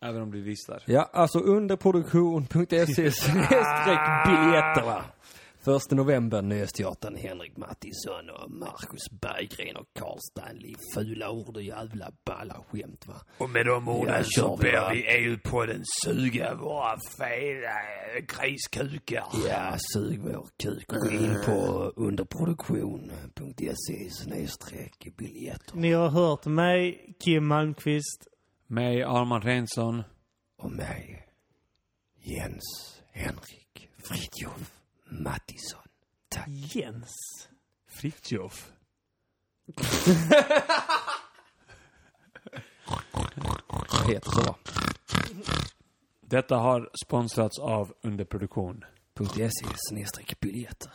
B: Även om det listar.
C: Ja, alltså underproduktion.se snedstreck biljetterna. 1 november, Nöjesteatern, Henrik Mattisson och Marcus Berggren och Carl Stanley. Fula ord och jävla balla skämt va.
D: Och med de
C: Ja,
D: orden
C: kör
D: så
C: vi, va?
D: ber vi EU-podden suga våra fela eh, griskukar.
C: Ja, sug vår kuk. Gå in på underproduktion.se snedstreck biljetter.
A: Ni har hört mig, Kim Malmqvist.
B: Mig, Arman Rensson.
C: Och mig, Jens Henrik Fritjof Mattisson. Tack.
A: Jens.
B: Fritjof.
C: Heter så va?
B: Detta har sponsrats av Underproduktion.
C: .se snedstreck biljetter.